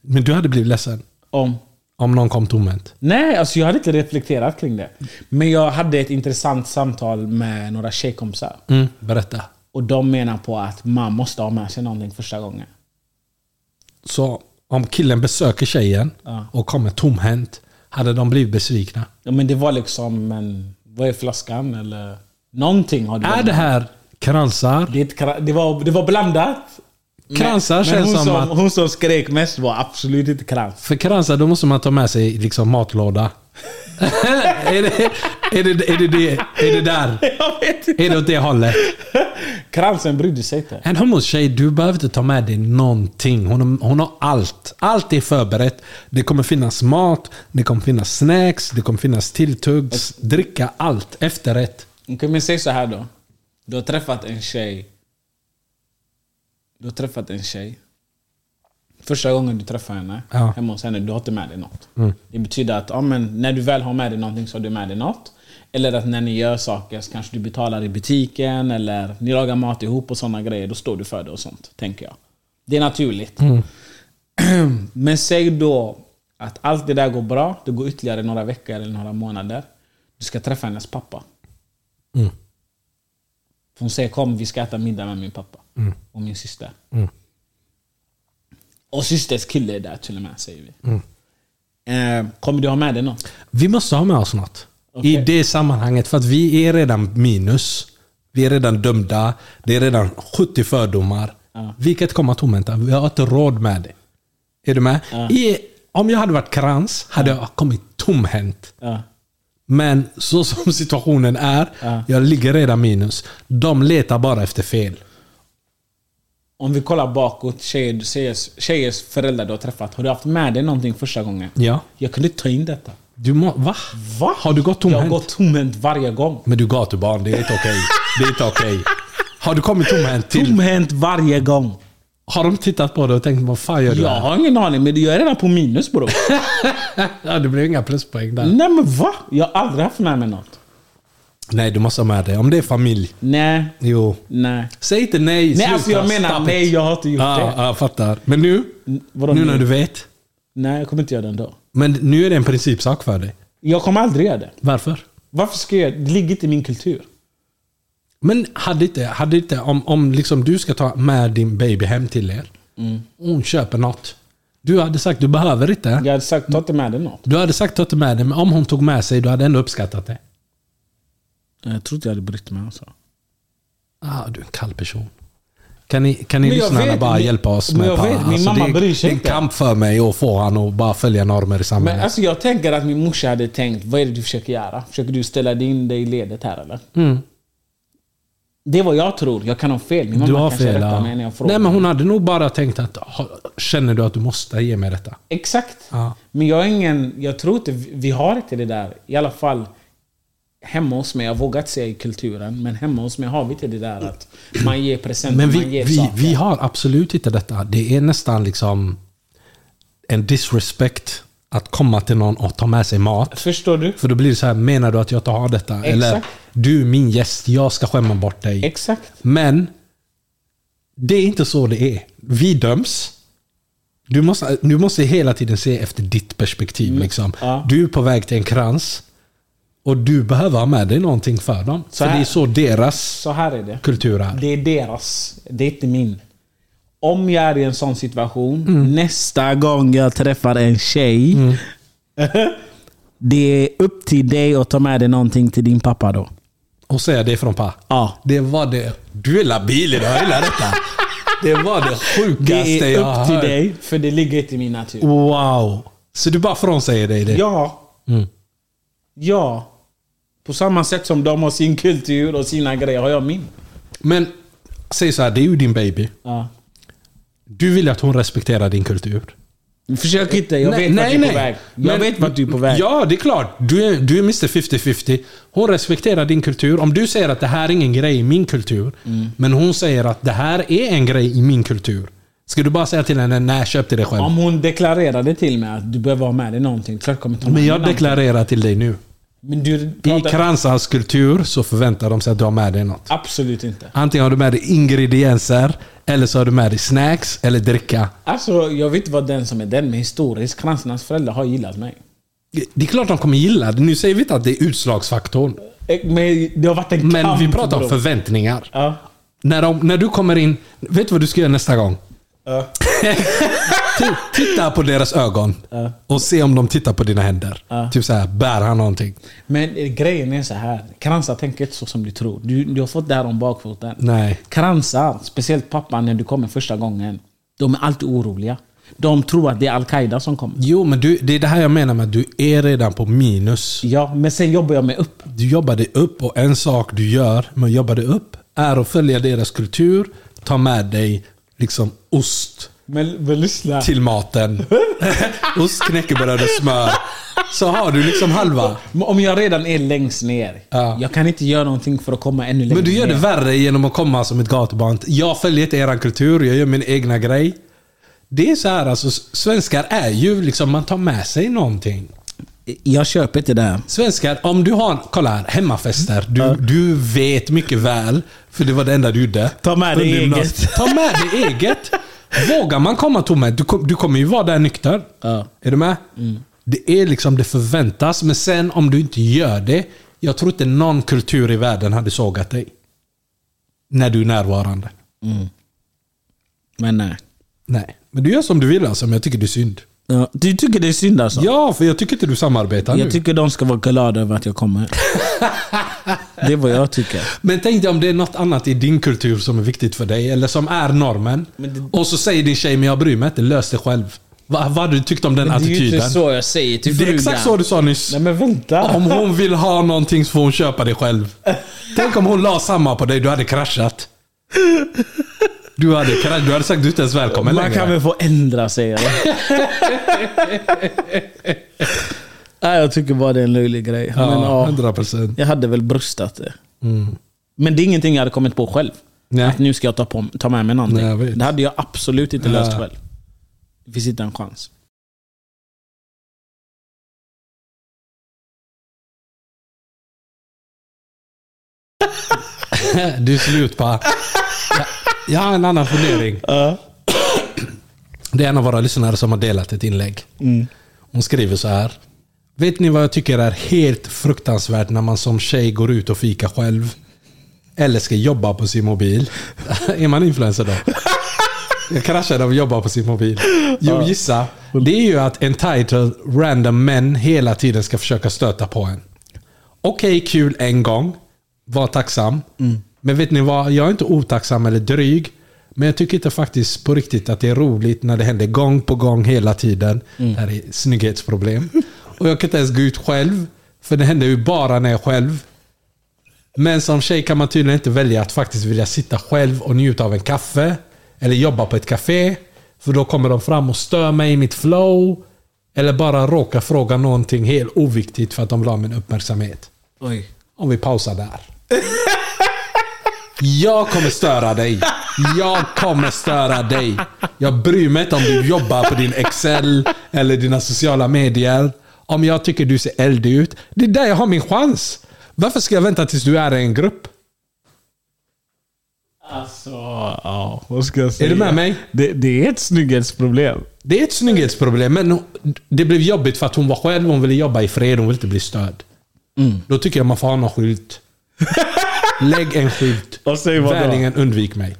Speaker 4: Men du hade blivit ledsen
Speaker 3: Om?
Speaker 4: om någon kom tomhänt.
Speaker 3: Nej, alltså jag hade inte reflekterat kring det. Men jag hade ett intressant samtal med några tjejkompisar.
Speaker 4: Mm, Berätta.
Speaker 3: Och de menar på att man måste ha med sig någonting första gången.
Speaker 4: Så om killen besöker tjejen
Speaker 3: Ja.
Speaker 4: och kommer tomhänt, hade de blivit besvikna?
Speaker 3: Ja, men det var liksom en... Vad är flaskan? Eller... Någonting har du
Speaker 4: Är
Speaker 3: med.
Speaker 4: det här kransar?
Speaker 3: Det, är ett kra- det, var, det var blandat.
Speaker 4: Kransar
Speaker 3: men,
Speaker 4: känns
Speaker 3: men hon
Speaker 4: som
Speaker 3: som
Speaker 4: att-
Speaker 3: Hon som skrek mest var absolut inte krans.
Speaker 4: För kransar, då måste man ta med sig liksom matlåda. är, det, är, det, är, det, det, är det där?
Speaker 3: Jag vet inte.
Speaker 4: Är det åt det hållet?
Speaker 3: Kransen brydde sig inte.
Speaker 4: En homotjej, du behöver inte ta med dig någonting. Hon har, hon har allt. Allt är förberett. Det kommer finnas mat, det kommer finnas snacks, det kommer finnas tilltugg, dricka, allt. Efterrätt.
Speaker 3: Okej, men säg så här då. Du har träffat en tjej. Du har träffat en tjej. Första gången du träffar henne,
Speaker 4: Ja.
Speaker 3: hemma hos henne, du har inte med dig något. Det betyder att ja, men, när du väl har med dig någonting så har du med dig något. Eller att när ni gör saker så kanske du betalar i butiken eller ni lagar mat ihop och sådana grejer. Då står du för det och sånt, tänker jag. Det är naturligt. Men säg då att allt det där går bra. Det går ytterligare några veckor eller några månader. Du ska träffa hennes pappa. Hon säger kom vi ska äta middag med min pappa
Speaker 4: Mm.
Speaker 3: och min syster. Och systers kille är där till och med säger vi.
Speaker 4: Mm.
Speaker 3: Eh, kommer du ha med dig något?
Speaker 4: Vi måste ha med oss något.
Speaker 3: Okej.
Speaker 4: I det sammanhanget, för att vi är redan minus. Vi är redan dömda. Det är redan 70 fördomar.
Speaker 3: Ja.
Speaker 4: Vi kan inte komma tomhänta. Vi har inte råd med det. Är du med? I, om jag hade varit krans hade jag kommit tomhänt.
Speaker 3: Ja.
Speaker 4: Men så som situationen är, jag ligger redan minus. De letar bara efter fel.
Speaker 3: Om vi kollar bakåt, tjejer, tjejers, tjejers föräldrar du har träffat. Har du haft med dig någonting första gången?
Speaker 4: Ja.
Speaker 3: Jag kunde inte ta in detta.
Speaker 4: Du må, va?
Speaker 3: Va?
Speaker 4: Har du gått
Speaker 3: Jag har
Speaker 4: tomhänt?
Speaker 3: gått tomhänt varje gång.
Speaker 4: Men du är gatubarn, det är inte okej. Det är inte okej. Har du kommit tomhänt till...
Speaker 3: Tomhänt varje gång.
Speaker 4: Har de tittat på dig och tänkt vad fan gör du
Speaker 3: Jag
Speaker 4: här?
Speaker 3: har ingen aning, men jag är redan på minus bror.
Speaker 4: Ja, det blir inga pluspoäng där.
Speaker 3: Nej men va? Jag har aldrig haft med mig något.
Speaker 4: Nej, du måste ha med det. Om det är familj.
Speaker 3: Nej,
Speaker 4: Jo.
Speaker 3: nej.
Speaker 4: Säg inte nej.
Speaker 3: Nej, alltså jag menar, nej, jag har inte gjort
Speaker 4: ja,
Speaker 3: det.
Speaker 4: Ja, jag fattar. Men nu?
Speaker 3: N- vadå
Speaker 4: nu
Speaker 3: nu?
Speaker 4: när du vet.
Speaker 3: Nej, jag kommer inte göra det ändå.
Speaker 4: Men nu är det en principsak för dig.
Speaker 3: Jag kommer aldrig göra det.
Speaker 4: Varför?
Speaker 3: Varför ska jag Det ligger inte i min kultur.
Speaker 4: Men hade inte, hade Mm. inte om, om liksom du ska ta med din baby hem till er. Hon köper något. Du hade sagt du behöver inte.
Speaker 3: Jag hade sagt, ta inte med dig något.
Speaker 4: Du hade sagt ta inte med det, men om hon tog med sig, du hade ändå uppskattat det.
Speaker 3: Jag tror inte jag hade brytt mig alltså.
Speaker 4: Ah, du är en kall person. Kan ni, kan ni
Speaker 3: Men jag
Speaker 4: lyssnarna
Speaker 3: vet,
Speaker 4: bara
Speaker 3: min-
Speaker 4: hjälpa oss
Speaker 3: men
Speaker 4: med
Speaker 3: jag
Speaker 4: Parra?
Speaker 3: vet, min mamma
Speaker 4: det, är-
Speaker 3: bryr sig
Speaker 4: Det är en
Speaker 3: inte.
Speaker 4: kamp för mig att få han att bara följa normer i
Speaker 3: Men
Speaker 4: samhället.
Speaker 3: alltså jag tänker att min morsa hade tänkt, vad är det du försöker göra? Försöker du ställa in dig i ledet här eller?
Speaker 4: Mm.
Speaker 3: Det är vad jag tror. Jag kan ha fel. Min mamma
Speaker 4: Du har
Speaker 3: kanske
Speaker 4: fel.
Speaker 3: rättar
Speaker 4: ja.
Speaker 3: mig när jag frågar.
Speaker 4: Nej, men hon hade nog bara tänkt att "Ha- känner du att du måste ge mig detta?
Speaker 3: Exakt.
Speaker 4: Ja.
Speaker 3: Men jag är ingen... Jag tror inte... vi- Vi har inte det där. I alla fall hemma hos mig. Jag har vågat säga i kulturen. Men hemma hos mig har vi inte det där att man ger presenter,
Speaker 4: Men vi,
Speaker 3: man ger
Speaker 4: vi,
Speaker 3: saker.
Speaker 4: vi har absolut inte detta. Det är nästan liksom en disrespect att komma till någon och ta med sig mat.
Speaker 3: Förstår du?
Speaker 4: För då blir det så här, menar du att jag tar ha detta? Eller, du är min gäst, jag ska skämma bort dig.
Speaker 3: Exakt.
Speaker 4: Men det är inte så det är. Vi döms. Du måste, du måste hela tiden se efter ditt perspektiv. Liksom.
Speaker 3: Mm. ja.
Speaker 4: Du är på väg till en krans och du behöver ha med dig någonting för dem.
Speaker 3: Så
Speaker 4: för det
Speaker 3: här-
Speaker 4: är så deras
Speaker 3: Så här är det.
Speaker 4: kultur är.
Speaker 3: Det är deras. Det är inte min. Om jag är i en sån situation, nästa gång jag träffar en tjej. det är upp till dig att ta med dig någonting till din pappa då.
Speaker 4: Och säga det från pappa.
Speaker 3: Ja.
Speaker 4: Det var det... Du är labil idag, jag gillar detta. Det var det sjukaste
Speaker 3: Det är
Speaker 4: jag har
Speaker 3: upp till
Speaker 4: hört.
Speaker 3: dig, för det ligger inte i min natur.
Speaker 4: Mm. Wow. Så du bara frånsäger dig det?
Speaker 3: Ja.
Speaker 4: Mm.
Speaker 3: Ja. På samma sätt som de har sin kultur och sina grejer har jag min.
Speaker 4: Men säg så här, det är ju din baby.
Speaker 3: Ja.
Speaker 4: Du vill att hon respekterar din kultur.
Speaker 3: Försök inte, jag vet vart du är på väg. Jag
Speaker 4: Men-
Speaker 3: vet vart du är på väg.
Speaker 4: Ja, det är klart. Du är, du är Mr 50-50. Hon respekterar din kultur. Om du säger att det här är ingen grej i min kultur,
Speaker 3: Mm.
Speaker 4: men hon säger att det här är en grej i min kultur. Ska du bara säga till henne, nej, köp till dig själv.
Speaker 3: Om hon deklarerade till mig att du behöver ha med dig någonting, klart kommer jag ta med
Speaker 4: men
Speaker 3: mig
Speaker 4: jag
Speaker 3: någonting.
Speaker 4: deklarerar till dig nu.
Speaker 3: Men du
Speaker 4: I
Speaker 3: pratar...
Speaker 4: Kransans kultur så förväntar de sig att du har med dig något.
Speaker 3: Absolut inte.
Speaker 4: Antingen har du med dig ingredienser, eller så har du med dig snacks eller dricka.
Speaker 3: Alltså, jag vet inte vad den som är den, men historiskt, kransarnas föräldrar har gillat mig.
Speaker 4: Det är klart de kommer gilla det. Nu säger vi inte att det är utslagsfaktorn.
Speaker 3: Eh, Men det har varit en
Speaker 4: Men
Speaker 3: kamp.
Speaker 4: vi pratar om
Speaker 3: bro.
Speaker 4: förväntningar.
Speaker 3: Ja.
Speaker 4: När, de, när du kommer in, vet du vad du ska göra nästa gång?
Speaker 3: Ja.
Speaker 4: Ti- Titta på deras ögon och se om de tittar på dina händer. Typ så här, bär han någonting?
Speaker 3: Men eh, grejen är så här. Kransar tänker inte så som du tror. Du, du har fått det här om bakfoten.
Speaker 4: Nej.
Speaker 3: Kransar, speciellt pappan när du kommer första gången. De är alltid oroliga. De tror att det är Al-Qaida som kommer.
Speaker 4: Jo, men du, det är det här jag menar med att du är redan på minus.
Speaker 3: Ja, men sen jobbar jag mig upp.
Speaker 4: Du jobbar dig upp och en sak du gör med att jobba dig upp är att följa deras kultur, ta med dig liksom ost
Speaker 3: Men, men lyssna.
Speaker 4: till maten. ost, knäckebröd och smör. Så har du liksom halva.
Speaker 3: Men Om jag redan är längst ner.
Speaker 4: Ja.
Speaker 3: Jag kan inte göra någonting för att komma ännu längre
Speaker 4: Men du gör det
Speaker 3: ner.
Speaker 4: värre genom att komma som ett gatubarn. Jag följer inte eran kultur, jag gör min egna grej. Det är så här, alltså, svenskar är ju liksom, man tar med sig någonting.
Speaker 3: Jag köper inte det här.
Speaker 4: Svenskar, om du har, kolla här, hemmafester. Du, du vet mycket väl, för det var det enda du gjorde.
Speaker 3: Ta med dig
Speaker 4: Under gymnasiet.
Speaker 3: eget.
Speaker 4: Ta med dig eget. Vågar man komma tomhänt, du, kom- du kommer ju vara där nykter.
Speaker 3: Ja. Mm.
Speaker 4: Är du med? Det är liksom, det förväntas. Men sen om du inte gör det, jag tror inte någon kultur i världen hade sågat dig. När du är närvarande.
Speaker 3: Men eh, nej.
Speaker 4: Nej. Men du gör som du vill alltså, men jag tycker det är synd.
Speaker 3: Ja, du tycker det är synd alltså?
Speaker 4: Ja, för jag tycker inte du samarbetar nu.
Speaker 3: jag tycker de ska vara glada över att jag kommer. det är vad jag tycker.
Speaker 4: Men tänk dig om det är något annat i din kultur som är viktigt för dig, eller som är normen.
Speaker 3: Men det-
Speaker 4: Och så säger din tjej, men jag bryr mig inte, lös det själv. Va, vad hade du tyckt om den attityden?
Speaker 3: jag säger till
Speaker 4: det är exakt så du sa nyss.
Speaker 3: Nej men vänta.
Speaker 4: Om hon vill ha någonting så får hon köpa det själv. Tänk om hon la samma på dig, du hade kraschat. Du hade, krasch, du hade sagt du är inte ens välkommen
Speaker 3: Man
Speaker 4: längre.
Speaker 3: kan väl få ändra sig eller? Nej, jag tycker bara det är en löjlig grej. men,
Speaker 4: Ja,
Speaker 3: ja,
Speaker 4: 100 procent. Mm.
Speaker 3: jag hade väl brustat det. Men det är ingenting jag hade kommit på själv.
Speaker 4: Nej.
Speaker 3: Att nu ska jag ta, på, ta med mig någonting.
Speaker 4: Nej, jag vet.
Speaker 3: det hade jag absolut inte löst
Speaker 4: Ja.
Speaker 3: själv. Det finns inte en chans.
Speaker 4: Du är slut på. Jag har en annan fundering. Det är en av våra lyssnare som har delat ett inlägg. Hon skriver så här. Vet ni vad jag tycker är helt fruktansvärt när man som tjej går ut och fikar själv? Eller ska jobba på sin mobil? är man influencer då? Jag kraschade av att jobba på sin mobil. Jo, gissa. Det är ju att entitled random men hela tiden ska försöka stöta på en. Okej, kul en gång. Var tacksam. Men vet ni vad? Jag är inte otacksam eller dryg. Men jag tycker inte faktiskt på riktigt att det är roligt när det händer gång på gång hela tiden. Det här är snygghetsproblem. Och jag kan inte ens gå ut själv. För det händer ju bara när jag är själv. Men som tjej kan man tydligen inte välja att faktiskt vilja sitta själv och njuta av en kaffe. Eller jobba på ett café. För då kommer de fram och stör mig i mitt flow. Eller bara råka fråga någonting helt oviktigt för att de vill ha min uppmärksamhet.
Speaker 3: Oj.
Speaker 4: Om vi pausar där. Jag kommer störa dig. Jag kommer störa dig. Jag bryr mig inte om du jobbar på din Excel eller dina sociala medier. Om jag tycker du ser eldig ut. Det är där jag har min chans. Varför ska jag vänta tills du är i en grupp?
Speaker 3: Alltså, ja. Vad ska jag säga?
Speaker 4: Är du med mig?
Speaker 3: Det, det är ett snygghetsproblem.
Speaker 4: Det är ett snygghetsproblem, men det blev jobbigt för att hon var själv. Hon ville jobba i fred. Hon ville inte bli störd. Då tycker jag man får ha någon skylt. Lägg en skylt.
Speaker 3: Och säg vad då?
Speaker 4: Värlingen, undvik mig.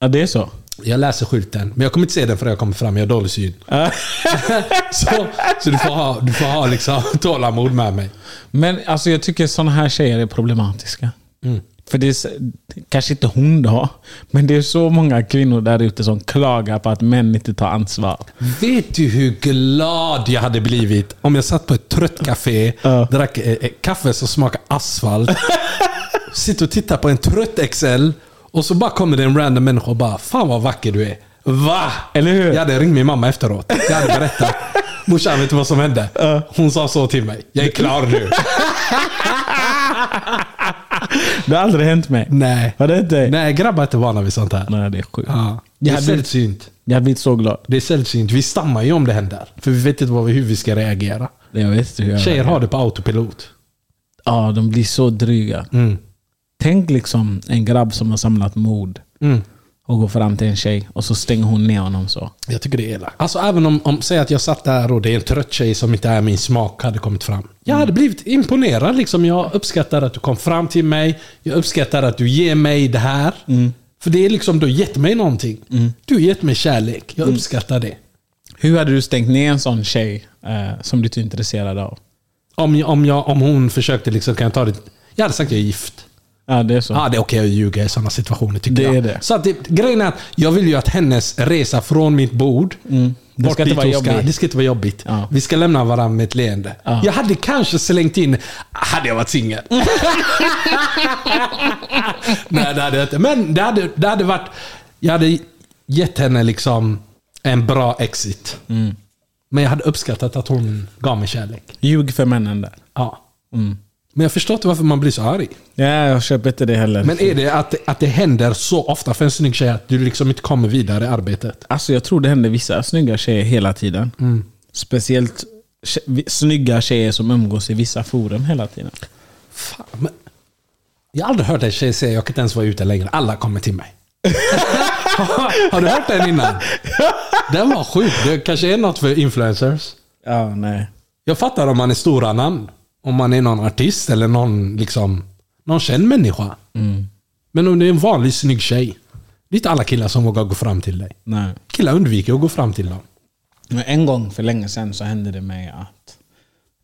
Speaker 3: Ja, det är så.
Speaker 4: Jag läser skylten, men jag kommer inte se den förrän jag kommer fram. Jag har dålig syn. så så du, får ha, du får ha liksom tålamod med mig.
Speaker 3: Men alltså, jag tycker sådana här tjejer är problematiska.
Speaker 4: Mm.
Speaker 3: För det är, s- kanske inte hon då, men det är så många kvinnor där ute som klagar på att män inte tar ansvar.
Speaker 4: Vet du hur glad jag hade blivit om jag satt på ett trött café,
Speaker 3: Ja.
Speaker 4: drack eh, eh, kaffe som smakar asfalt, sitter och tittar på en trött Excel och så bara kommer det en random människa och bara “Fan vad vacker du är”. Va?
Speaker 3: Eller hur?
Speaker 4: Jag hade ringt min mamma efteråt. Jag hade berättat. Morsan, vet du vad som hände? Hon sa så till mig. Jag är klar nu.
Speaker 3: Det har aldrig hänt mig.
Speaker 4: Nej.
Speaker 3: Har det inte?
Speaker 4: Nej, grabbar är inte vana vid sånt här.
Speaker 3: Nej, det är sjukt.
Speaker 4: Ja. Det
Speaker 3: Jag
Speaker 4: är
Speaker 3: hade blivit-
Speaker 4: sällsynt.
Speaker 3: Jag har blivit så glad.
Speaker 4: Det är sällsynt. Vi stammar ju om det händer. För vi vet inte vad vi, hur vi ska reagera.
Speaker 3: Jag vet inte hur jag
Speaker 4: Tjejer har det på autopilot.
Speaker 3: Ja, de blir så dryga. Tänk liksom en grabb som har samlat mod och går fram till en tjej och så stänger hon ner honom så.
Speaker 4: Jag tycker det är elakt. Alltså även om, om säg att jag satt där och det är en trött tjej som inte är min smak hade kommit fram. Jag hade blivit imponerad liksom. Jag uppskattar att du kom fram till mig. Jag uppskattar att du ger mig det här. För det är liksom, du har gett mig någonting. Du har gett mig kärlek. Jag uppskattar det.
Speaker 3: Hur hade du stängt ner en sån tjej eh, som du inte är intresserad av?
Speaker 4: Om, jag, om, jag, om hon försökte liksom, kan jag ta det? Jag hade sagt att jag är gift.
Speaker 3: Ja, det är så.
Speaker 4: Ja, det är okej att ljuga i sådana situationer tycker
Speaker 3: Det
Speaker 4: jag.
Speaker 3: är det.
Speaker 4: Så att det, grejen är att jag vill ju att hennes resa från mitt bord
Speaker 3: Mm. Det ska
Speaker 4: bort
Speaker 3: inte
Speaker 4: dit
Speaker 3: vara
Speaker 4: hon ska,
Speaker 3: jobbigt.
Speaker 4: det ska inte vara jobbigt.
Speaker 3: Ja.
Speaker 4: Vi ska lämna varandra med ett leende. Jag hade kanske slängt in, hade jag varit singel. Nej, det hade jag inte. Men det hade, det hade varit, jag hade gett henne liksom en bra exit.
Speaker 3: Mm.
Speaker 4: Men jag hade uppskattat att hon gav mig kärlek.
Speaker 3: Ljug för männen där.
Speaker 4: Ja.
Speaker 3: Mm.
Speaker 4: Men jag förstår inte varför man blir så arg.
Speaker 3: Ja, jag köper inte det heller.
Speaker 4: Men är det att, att det händer så ofta för en snygg tjej att du liksom inte kommer vidare i arbetet?
Speaker 3: Alltså jag tror det händer vissa snygga tjejer hela tiden. Speciellt tje- vi- snygga tjejer som umgås i vissa forum hela tiden.
Speaker 4: Fan, men, jag har aldrig hört en tjej säga jag kan inte ens vara ute längre. Alla kommer till mig. har du hört den innan? Den var sjuk. Det kanske är något för influencers.
Speaker 3: Ja, nej.
Speaker 4: Jag fattar om man är stora namn. Om man är någon artist eller någon, liksom, någon känd människa. Men om det är en vanlig snygg tjej. Det är inte alla killar som vågar gå fram till dig.
Speaker 3: nej.
Speaker 4: Killar undviker att gå fram till dem.
Speaker 3: Men en gång för länge sedan så hände det mig att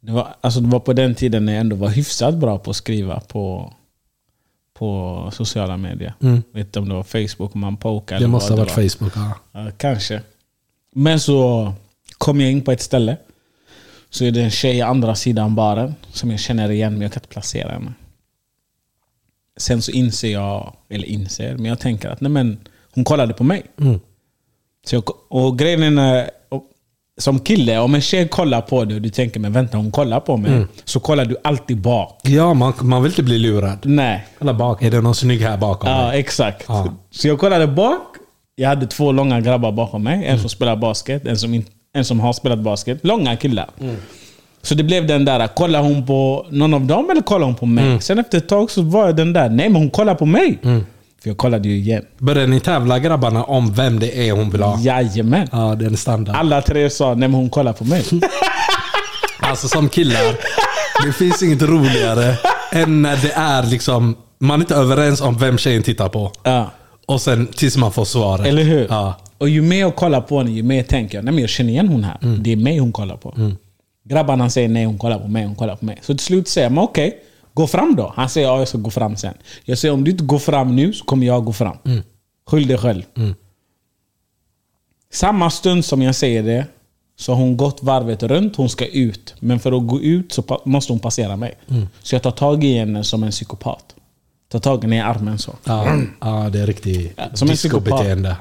Speaker 3: det var, alltså det var på den tiden när jag ändå var hyfsat bra på att skriva på, på sociala medier. Vet inte om det var Facebook om man pokade.
Speaker 4: Mm. Det måste ha varit Facebook. Ja.
Speaker 3: Ja, kanske. Men så kom jag in på ett ställe. Så är det en tjej i andra sidan baren som jag känner igen men jag kan inte placera henne. Sen så inser jag, eller inser, men jag tänker att nej men, hon kollade på mig. Så jag, och grejen är när, och, som kille, om en tjej kollar på dig och du tänker men vänta hon kollar på mig. Så kollar du alltid bak.
Speaker 4: Ja, man, man vill inte bli lurad.
Speaker 3: Nej.
Speaker 4: Kolla bak, är det någon snygg här bakom?
Speaker 3: Ja,
Speaker 4: mig?
Speaker 3: exakt.
Speaker 4: Ja.
Speaker 3: Så jag kollade bak. Jag hade två långa grabbar bakom mig. En som spelar basket, en som, in, en som har spelat basket. Långa killar.
Speaker 4: Mm.
Speaker 3: Så det blev den där, kollar hon på någon av dem eller kollar hon på mig?
Speaker 4: Mm.
Speaker 3: Sen efter ett tag så var jag den där, nej men hon kollar på mig. För jag kollade ju igen.
Speaker 4: Börjar ni tävla grabbarna om vem det är hon vill ha?
Speaker 3: Jajamän.
Speaker 4: Ja, det är en standard.
Speaker 3: Alla tre sa, nej men hon kollar på mig.
Speaker 4: Alltså som killar, det finns inget roligare än när det är liksom, man är inte överens om vem tjejen tittar på.
Speaker 3: ja.
Speaker 4: Och sen tills man får svaret.
Speaker 3: Eller hur?
Speaker 4: Ja.
Speaker 3: Och ju mer jag kollar på henne, ju mer tänker jag nej men jag känner igen hon här. Det är mig hon kollar på. Grabbarna säger nej, hon kollar på mig, hon kollar på mig. Så till slut säger jag, men okej, gå fram då. Han säger, ja jag ska gå fram sen. Jag säger, om du inte går fram nu så kommer jag gå fram. Skyll dig själv. Samma stund som jag säger det så har hon gått varvet runt, hon ska ut. Men för att gå ut så pa- måste hon passera mig. Så jag tar tag i henne som en psykopat. Tar tag i henne i armen så.
Speaker 4: Ja, ja, det är riktigt
Speaker 3: som en psykopat.
Speaker 4: discobeteende.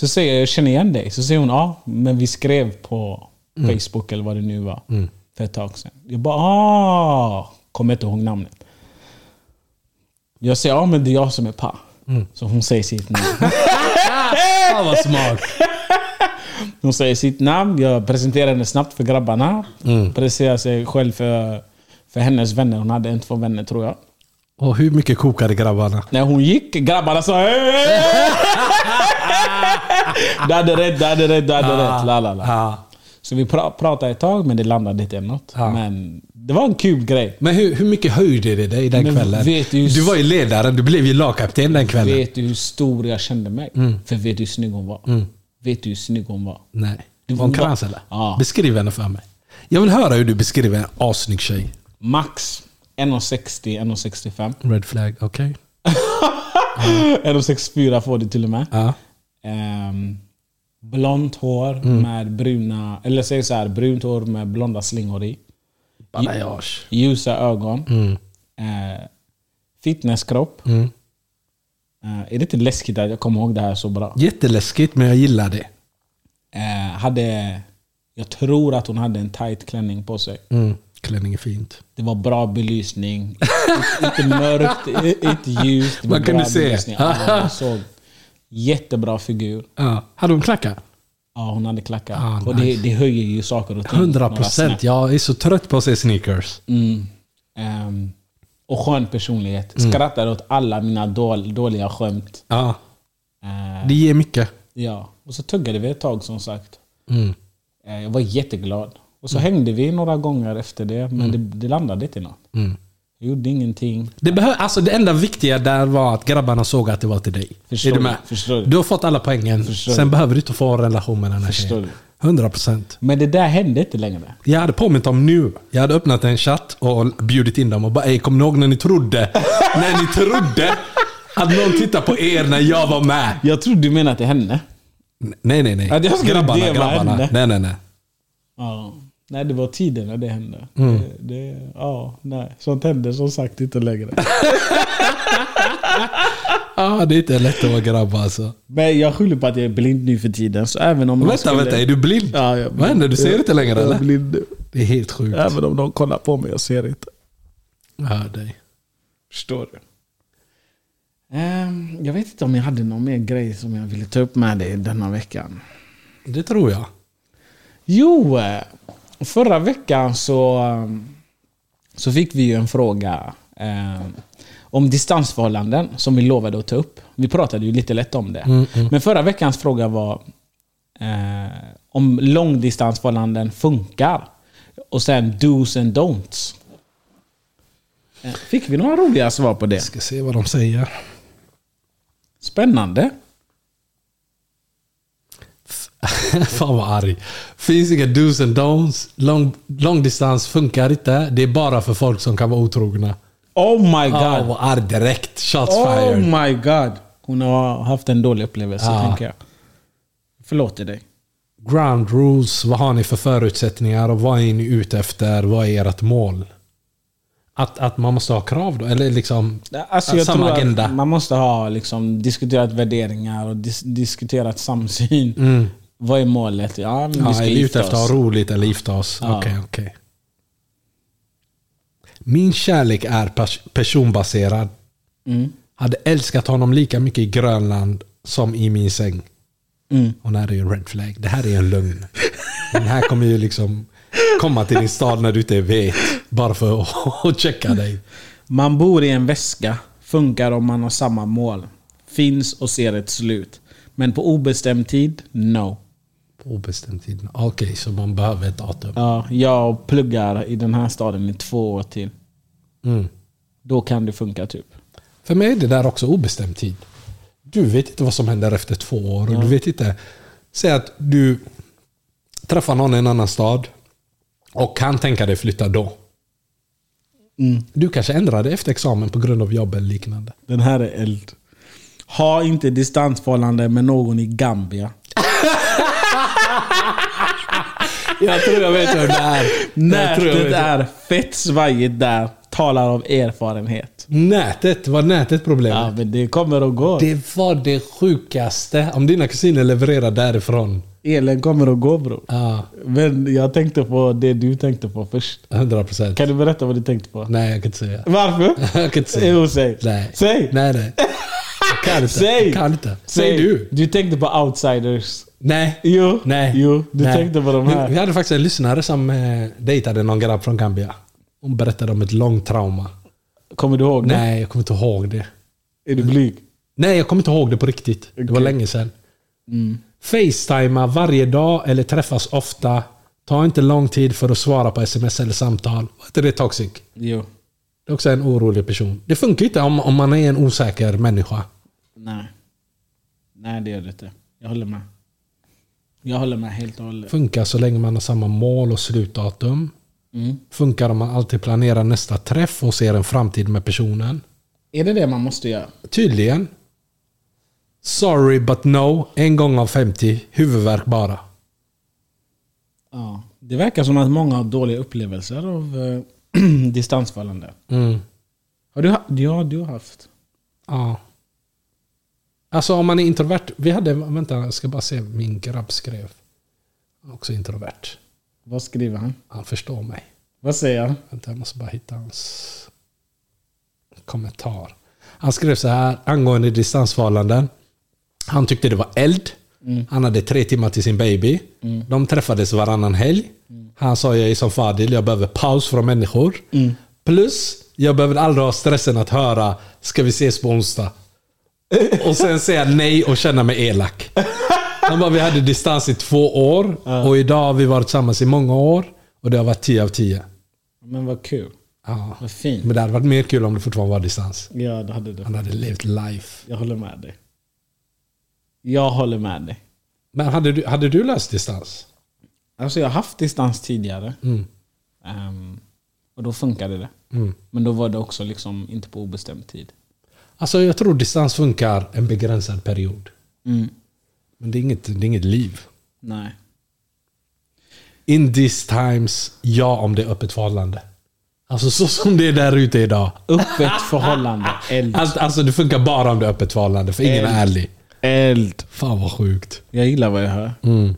Speaker 3: Så säger jag, jag känner igen dig. Så säger hon, ja, men vi skrev på Facebook eller vad det nu var för ett tag sedan. Jag bara, ah, kommer inte ihåg namnet. Jag säger, ja men det är jag som är pa. Så hon säger sitt namn.
Speaker 4: Fan vad smart.
Speaker 3: Hon säger sitt namn, jag presenterar henne snabbt för grabbarna. Presenterar sig själv för, för hennes vänner. Hon hade en, två vänner tror jag.
Speaker 4: Och hur mycket kokade grabbarna?
Speaker 3: När hon gick, grabbarna sa "Hey, hey, hey." Du hade rätt, du hade rätt, du hade rätt. La, la, la.
Speaker 4: Ja.
Speaker 3: Så vi pra- pratade ett tag men det landade inte i något.
Speaker 4: Ja.
Speaker 3: Men det var en kul grej.
Speaker 4: Men hur, hur mycket höjde det dig den
Speaker 3: Men
Speaker 4: kvällen?
Speaker 3: vet du-
Speaker 4: du, var ju ledaren, du blev ju lagkapten den kvällen.
Speaker 3: Vet du hur stor jag kände mig? För vet du hur snygg hon var? Vet du hur snygg hon var?
Speaker 4: Mm. Nej.
Speaker 3: Du
Speaker 4: var hon
Speaker 3: var-
Speaker 4: krans eller?
Speaker 3: Ja.
Speaker 4: Beskriv henne för mig. Jag vill höra hur du beskriver en assnygg tjej.
Speaker 3: Max 1,60, 1,65.
Speaker 4: Red flag, okej.
Speaker 3: 1,64 får du till och med.
Speaker 4: Ja.
Speaker 3: Ehm, blont hår
Speaker 4: Mm.
Speaker 3: med bruna, eller säg så här, brunt hår med blonda slingor i.
Speaker 4: Balayage.
Speaker 3: Ljusa ögon.
Speaker 4: Mm.
Speaker 3: Eh, fitnesskropp. Eh, är det inte läskigt att jag kommer ihåg det här så bra?
Speaker 4: Jätteläskigt, men jag gillar det.
Speaker 3: Eh, hade, jag tror att hon hade en tight klänning på sig.
Speaker 4: Mm. Klänning är fint.
Speaker 3: Det var bra belysning. inte mörkt, i- inte ljust. Det var
Speaker 4: Man kunde
Speaker 3: bra
Speaker 4: se.
Speaker 3: belysning. Ja, jag såg. Jättebra figur.
Speaker 4: Ja. Hade hon klackat?
Speaker 3: Ja, hon hade klackar.
Speaker 4: Ah,
Speaker 3: och det, det höjer ju saker och ting.
Speaker 4: 100
Speaker 3: några snäpp.
Speaker 4: procent. Jag är så trött på att se sneakers.
Speaker 3: Mm. Ehm, och skön personlighet.
Speaker 4: Mm.
Speaker 3: Skrattade åt alla mina dål, dåliga skämt.
Speaker 4: Ja.
Speaker 3: Eh,
Speaker 4: Det ger mycket.
Speaker 3: ja. Och så tuggade vi ett tag som sagt.
Speaker 4: Mm.
Speaker 3: Eh, jag var jätteglad. Och så hängde vi några gånger efter det, men det, det landade inte i något.
Speaker 4: Mm.
Speaker 3: Jag gjorde ingenting.
Speaker 4: Det, behö- alltså, det enda viktiga där var att grabbarna såg att det var till dig.
Speaker 3: Förstår
Speaker 4: är du
Speaker 3: du?
Speaker 4: med?
Speaker 3: Förstår du?
Speaker 4: du har fått alla poängen.
Speaker 3: Förstår
Speaker 4: Sen
Speaker 3: du?
Speaker 4: behöver du inte få en relation med den här
Speaker 3: Förstår
Speaker 4: tjejen. 100 procent.
Speaker 3: Men det där hände inte längre.
Speaker 4: Jag hade påmint om nu. Jag hade öppnat en chatt och bjudit in dem och bara Ey, kommer ni ihåg när ni trodde? när ni trodde att någon tittar på er när jag var med?
Speaker 3: Jag tror du menar till henne.
Speaker 4: Nej, nej, nej.
Speaker 3: Att jag skulle deva henne.
Speaker 4: Nej, nej, nej.
Speaker 3: Ja. Nej, det var tiden när det hände.
Speaker 4: Mm.
Speaker 3: Det, det, ja, nej. Sånt hände som sagt inte längre.
Speaker 4: Ah, det är inte lätt att vara grabb alltså.
Speaker 3: Men jag skyller på att jag är blind nu för tiden. Så även om
Speaker 4: Vänta, vänta. Är du blind?
Speaker 3: Ja, jag är
Speaker 4: Vad händer? Du ser
Speaker 3: Jag-
Speaker 4: inte längre
Speaker 3: jag är
Speaker 4: eller?
Speaker 3: blind nu.
Speaker 4: Det är helt sjukt.
Speaker 3: Även om de kollar på mig, jag ser inte.
Speaker 4: Jag hör dig.
Speaker 3: Förstår du? Ehm, jag vet inte om jag hade någon mer grej som jag ville ta upp med dig denna veckan.
Speaker 4: Det tror jag.
Speaker 3: Jo, eh, förra veckan så, eh, så fick vi ju en fråga eh, om distansförhållanden som vi lovade att ta upp. Vi pratade ju lite lätt om det. Men förra veckans fråga var eh, om långdistansförhållanden funkar. Och sen dos and don'ts. Eh, Fick vi några roliga svar på det?
Speaker 4: Ska se vad de säger.
Speaker 3: Spännande.
Speaker 4: Fan vad arg. Finns inga do's and don'ts. Lång, långdistans funkar inte. Det är bara för folk som kan vara otrogna.
Speaker 3: Oh my
Speaker 4: Ah,
Speaker 3: god.
Speaker 4: vad arg direkt. Shots
Speaker 3: Oh
Speaker 4: fired.
Speaker 3: my god. Hon har haft en dålig upplevelse,
Speaker 4: Ja.
Speaker 3: tänker jag. Förlåter dig.
Speaker 4: Ground rules. Vad har ni för förutsättningar och vad är ni ute efter? Vad är ert mål? Att, att man måste ha krav då? Eller liksom
Speaker 3: Alltså, jag
Speaker 4: samma
Speaker 3: tror
Speaker 4: agenda?
Speaker 3: Att man måste ha liksom, diskuterat värderingar och dis- diskuterat samsyn. Vad är målet? Mm. Ja, men vi
Speaker 4: Ja,
Speaker 3: ska
Speaker 4: är vi ute
Speaker 3: gifta
Speaker 4: efter att
Speaker 3: oss.
Speaker 4: ha roligt eller gifta oss? Okej,
Speaker 3: Ja.
Speaker 4: okej. Min kärlek är pers- personbaserad.
Speaker 3: Mm.
Speaker 4: Hade älskat honom lika mycket i Grönland som i min säng.
Speaker 3: Mm.
Speaker 4: Och det här är ju en red flag. Det här är en lögn. Den här kommer ju liksom komma till din stad när du inte vet. Bara för att- att checka dig.
Speaker 3: Man bor i en väska, funkar om man har samma mål. Finns och ser ett slut. Men på obestämd tid, no.
Speaker 4: På obestämd tid. Okej, så man behöver ett datum.
Speaker 3: Ja, jag pluggar i den här staden i två år till.
Speaker 4: Mm.
Speaker 3: Då kan det funka typ.
Speaker 4: För mig är det där också obestämd tid. Du vet inte vad som händer efter två år. Och du vet inte Säg att du träffar någon i en annan stad och kan tänka dig flytta då. Du kanske ändrar dig efter examen på grund av jobb eller liknande.
Speaker 3: Den här är eld. Ha inte distansförhållande med någon i Gambia.
Speaker 4: Jag tror jag vet hur det är. Jag tror jag
Speaker 3: Nätet
Speaker 4: vet.
Speaker 3: är fett svajigt där. Talar av erfarenhet.
Speaker 4: Nätet, var nätet problemet?
Speaker 3: Ja, men det kommer och går.
Speaker 4: Det var det sjukaste. Om dina kusiner levererar därifrån.
Speaker 3: Elen kommer och går bror.
Speaker 4: Ja,
Speaker 3: Men jag tänkte på det du tänkte på först.
Speaker 4: 100 procent.
Speaker 3: Kan du berätta vad du tänkte på?
Speaker 4: Nej, jag kan inte säga.
Speaker 3: Varför?
Speaker 4: Jag kan inte säga.
Speaker 3: Jo, säg.
Speaker 4: Nej.
Speaker 3: Säg.
Speaker 4: Nej, nej. Jag kan inte.
Speaker 3: Säg.
Speaker 4: Jag kan inte. Säg du.
Speaker 3: Du tänkte på outsiders.
Speaker 4: Nej.
Speaker 3: Jo.
Speaker 4: Nej.
Speaker 3: Jo, du
Speaker 4: Nej.
Speaker 3: tänkte på de
Speaker 4: Vi
Speaker 3: här.
Speaker 4: hade faktiskt en lyssnare som eh, dejtade någon grabb från Gambia. Hon berättade om ett långt trauma.
Speaker 3: Kommer du ihåg det?
Speaker 4: Nej, jag kommer inte ihåg det.
Speaker 3: Är du blyg?
Speaker 4: Nej, jag kommer inte ihåg det på riktigt. Det var
Speaker 3: Okej. Mm.
Speaker 4: länge sedan. Facetima varje dag eller träffas ofta. Ta inte lång tid för att svara på sms eller samtal. Var inte det toxic?
Speaker 3: Jo.
Speaker 4: Det är också en orolig person. Det funkar inte om, om man är en osäker människa.
Speaker 3: Nej. Nej, det gör det inte. Jag håller med. Jag håller med helt och hållet.
Speaker 4: Funkar så länge man har samma mål och slutdatum.
Speaker 3: Mm.
Speaker 4: Funkar om man alltid planerar nästa träff och ser en framtid med personen.
Speaker 3: Är det det man måste göra?
Speaker 4: Tydligen. Sorry but no. En gång av 50. Huvudvärk bara.
Speaker 3: Ja. Det verkar som att många har dåliga upplevelser av eh, distansförhållanden.
Speaker 4: Mm.
Speaker 3: Har du, ha- ja, du har haft.
Speaker 4: Ja. Alltså om man är introvert. Vi hade, vänta jag ska bara se. Min grabb skrev. Han är Också introvert.
Speaker 3: Vad skriver han?
Speaker 4: Han förstår mig.
Speaker 3: Vad säger han?
Speaker 4: Vänta jag måste bara hitta hans kommentar. Han skrev så här angående distansförhållanden. Han tyckte det var eld. Han hade tre timmar till sin baby. De träffades varannan helg. Han sa jag är som Fadil, jag behöver paus från människor. Plus, jag behöver aldrig ha stressen att höra ska vi ses på onsdag? Och sen säga nej och känna mig elak. Han bara, vi hade distans i två år och idag har vi varit tillsammans i många år och det har varit 10 av 10.
Speaker 3: Men vad kul.
Speaker 4: Ja.
Speaker 3: Vad fint.
Speaker 4: Men det hade varit mer kul om det fortfarande var distans.
Speaker 3: Ja, det hade du.
Speaker 4: Han hade levt life.
Speaker 3: Jag håller med dig. Jag håller med dig.
Speaker 4: Men hade du, hade du läst distans?
Speaker 3: Alltså jag har haft distans tidigare.
Speaker 4: Mm.
Speaker 3: Ehm, och då funkade det.
Speaker 4: Mm.
Speaker 3: Men då var det också liksom inte på obestämd tid.
Speaker 4: Alltså jag tror distans funkar en begränsad period.
Speaker 3: Mm.
Speaker 4: Men det är inget, det är inget liv.
Speaker 3: Nej.
Speaker 4: In these times, ja om det är öppet förhållande. Alltså så som det är där ute idag.
Speaker 3: Öppet förhållande. Eld.
Speaker 4: Alltså, alltså det funkar bara om det är öppet förhållande, för ingen är ärlig.
Speaker 3: Eld.
Speaker 4: Fan vad sjukt.
Speaker 3: Jag gillar vad jag hör.
Speaker 4: Mm.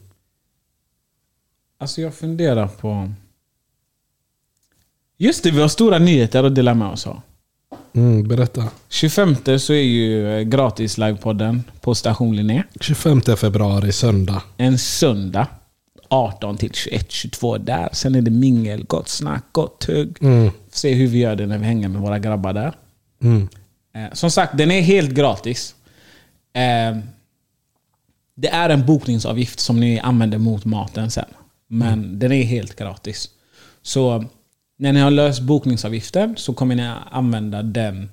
Speaker 3: Alltså jag funderar på... Just det, vi har stora nyheter att dela med oss av.
Speaker 4: Mm, berätta.
Speaker 3: 25 så är ju eh, gratis livepodden på Station Linné.
Speaker 4: 25 februari, söndag.
Speaker 3: En söndag. 18 till 21, 22 där. Sen är det mingel, gott snack, gott tugg.
Speaker 4: Mm.
Speaker 3: Se hur vi gör det när vi hänger med våra grabbar där.
Speaker 4: Mm.
Speaker 3: Eh, Som sagt, den är helt gratis. Eh, Det är en bokningsavgift som ni använder mot maten sen. Men
Speaker 4: Mm.
Speaker 3: den är helt gratis. Så när ni har löst bokningsavgiften så kommer ni använda den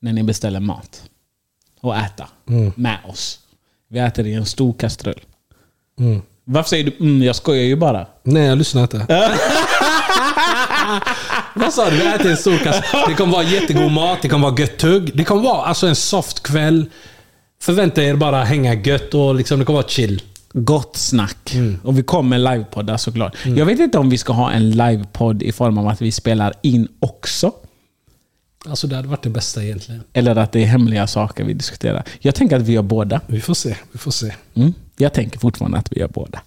Speaker 3: när ni beställer mat. Och äta med oss. Vi äter i en stor kastrull.
Speaker 4: Mm.
Speaker 3: Varför säger du mm, jag skojar ju bara.
Speaker 4: Nej, jag lyssnar inte. Vad sa du? Vi äter en stor kasse. Det kommer vara jättegod mat, det kommer vara gött tugg. Det kommer vara alltså en soft kväll. Förvänta er bara hänga gött och liksom, det kommer vara chill.
Speaker 3: Gott snack. Och vi kommer livepoddar såklart. Jag vet inte om vi ska ha en livepodd i form av att vi spelar in också.
Speaker 4: Alltså det hade varit det bästa egentligen.
Speaker 3: Eller att det är hemliga saker vi diskuterar. Jag tänker att vi gör båda.
Speaker 4: Vi får se, vi får se.
Speaker 3: Mm. Jag tänker fortfarande att vi gör båda.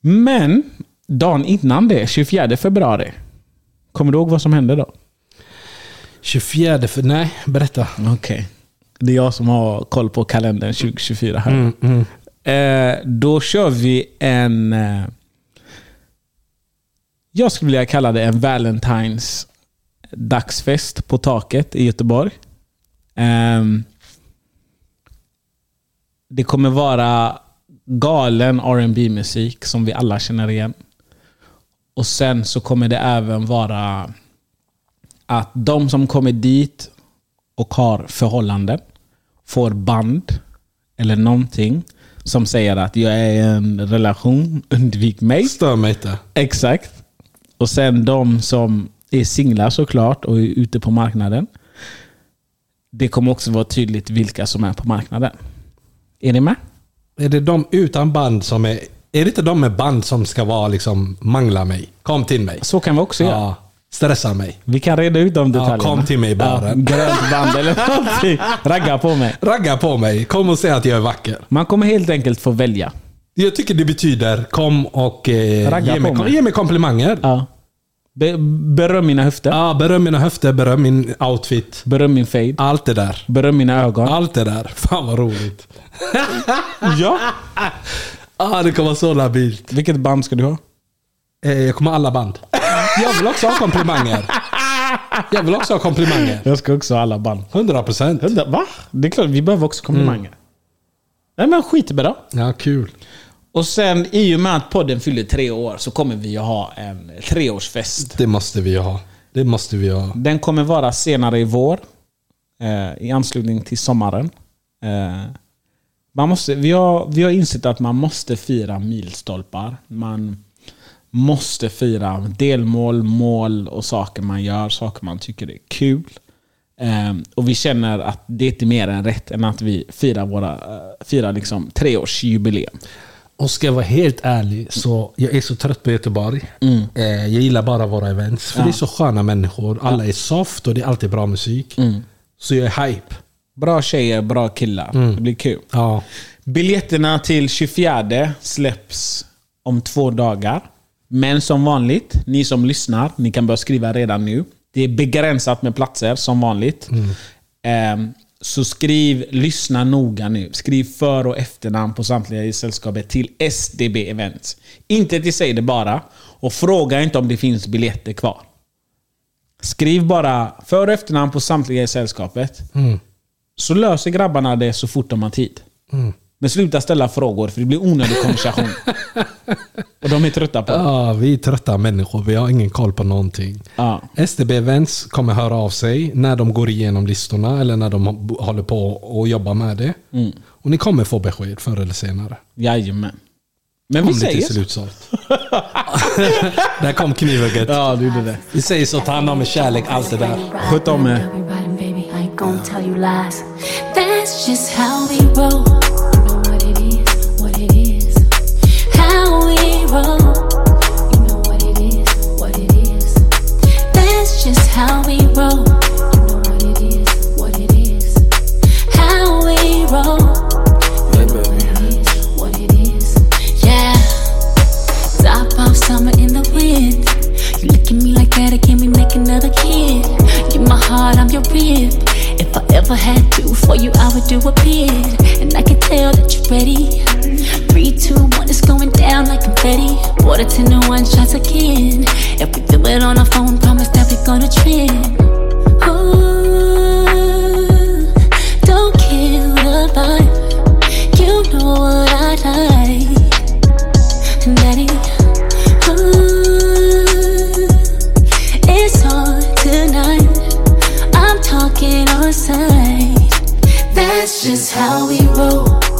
Speaker 3: Men dagen innan det, 24 februari. Kommer du ihåg vad som hände då?
Speaker 4: 24 för... Nej, berätta.
Speaker 3: Okej. Det är jag som har koll på kalendern 2024 här. Eh, då kör vi en... Eh, jag skulle vilja kalla det en Valentines dagsfest på taket i Göteborg. Ehm, det kommer vara galen rb musik som vi alla känner igen. Och sen så kommer det även vara att de som kommer dit och har förhållanden får band eller någonting Som säger att jag är i en relation, undvik mig.
Speaker 4: Stör mig inte.
Speaker 3: Exakt. Och sen de som är singlar såklart och är ute på marknaden. Det kommer också vara tydligt vilka som är på marknaden. Är ni med?
Speaker 4: Är det de utan band som är... Är det inte de med band som ska vara liksom mangla mig? Kom till mig.
Speaker 3: Så kan vi också göra.
Speaker 4: Alltså, Ja. Stressa mig.
Speaker 3: Vi kan reda ut de detaljerna.
Speaker 4: kom till mig i baren.
Speaker 3: Ja, grönt band eller någonting. Ragga på mig.
Speaker 4: Ragga på mig. Kom och säg att jag är vacker.
Speaker 3: Man kommer helt enkelt få välja.
Speaker 4: Jag tycker det betyder kom och eh,
Speaker 3: Ragga
Speaker 4: ge,
Speaker 3: på
Speaker 4: mig,
Speaker 3: mig.
Speaker 4: ge mig komplimanger. Ja.
Speaker 3: Ja. Be- beröm mina höfter.
Speaker 4: beröm mina höfter, beröm min outfit.
Speaker 3: Beröm min fade.
Speaker 4: Allt det där.
Speaker 3: Beröm mina ögon.
Speaker 4: Allt det där. Fan vad roligt.
Speaker 3: Ja.
Speaker 4: Ah, det kommer vara så labilt.
Speaker 3: Vilket band ska du ha?
Speaker 4: Eh, jag kommer ha alla band. Jag vill också ha komplimanger. Jag vill också ha komplimanger.
Speaker 3: Jag ska också ha alla band.
Speaker 4: 100 procent.
Speaker 3: Va? Det är klart, vi behöver också komplimanger.
Speaker 4: Mm.
Speaker 3: Nej men skitbra.
Speaker 4: Ja, kul.
Speaker 3: Och sen i och med att podden fyller tre år så kommer vi att ha en treårsfest.
Speaker 4: Det måste vi ha. Det måste vi ha.
Speaker 3: Den kommer vara senare i vår. Eh, I anslutning till sommaren. Eh, man måste, vi, har, vi har insett att man måste fira milstolpar. Man måste fira delmål, mål och saker man gör. Saker man tycker är kul. Eh, och vi känner att det är inte mer än rätt än att vi firar, våra, eh, firar liksom treårsjubileum.
Speaker 4: Och ska jag vara helt ärlig, så jag är så trött på Göteborg.
Speaker 3: Mm.
Speaker 4: Eh, jag gillar bara våra events. För det är så sköna människor. Alla är soft och det är alltid bra musik.
Speaker 3: Mm.
Speaker 4: Så jag är hype.
Speaker 3: Bra tjejer, bra killar. Det blir kul.
Speaker 4: Ja.
Speaker 3: Biljetterna till 24 släpps om två dagar. Men som vanligt, ni som lyssnar, ni kan börja skriva redan nu. Det är begränsat med platser som vanligt. Ehm, så skriv, lyssna noga nu. Skriv för och efternamn på samtliga i sällskapet till SDB Events. Inte till Säg det bara. Och fråga inte om det finns biljetter kvar. Skriv bara för och efternamn på samtliga i sällskapet. Så löser grabbarna det så fort de har tid. Men sluta ställa frågor för det blir onödig konversation. och de är trötta på det.
Speaker 4: Ja, vi är trötta människor. Vi har ingen koll på någonting.
Speaker 3: Ja.
Speaker 4: STB Events kommer höra av sig när de går igenom listorna eller när de håller på och jobbar med det.
Speaker 3: Mm.
Speaker 4: Och ni kommer få besked förr eller senare.
Speaker 3: Jajamän. Men vi
Speaker 4: Om det
Speaker 3: säger
Speaker 4: till
Speaker 3: så.
Speaker 4: slutsålt. där kom kniven gött.
Speaker 3: Ja, du gjorde det.
Speaker 4: Vi säger så, ta hand om er, kärlek, allt det där.
Speaker 3: Sköt om er.
Speaker 1: I ain't gonna tell you lies. That's just how we roll. You know what it is, what it is. How we roll. You know what it is, what it is. That's just how we roll. You know what it is, what it is. How we roll. You know what it is, what it is. Yeah. Top off summer in the wind. You look at me like that again, we make another kid. You my heart, I'm your rib. If I ever had to for you, I would do a bid. And I can tell that you're ready. Three, two, one, it's going down like confetti. Water ten to one shots again. If we do it on our phone, promise that we're gonna trend. Ooh, don't kill the vibe. You know what I like. Daddy, ooh, it's on tonight. I'm talking on sight. That's just how we roll.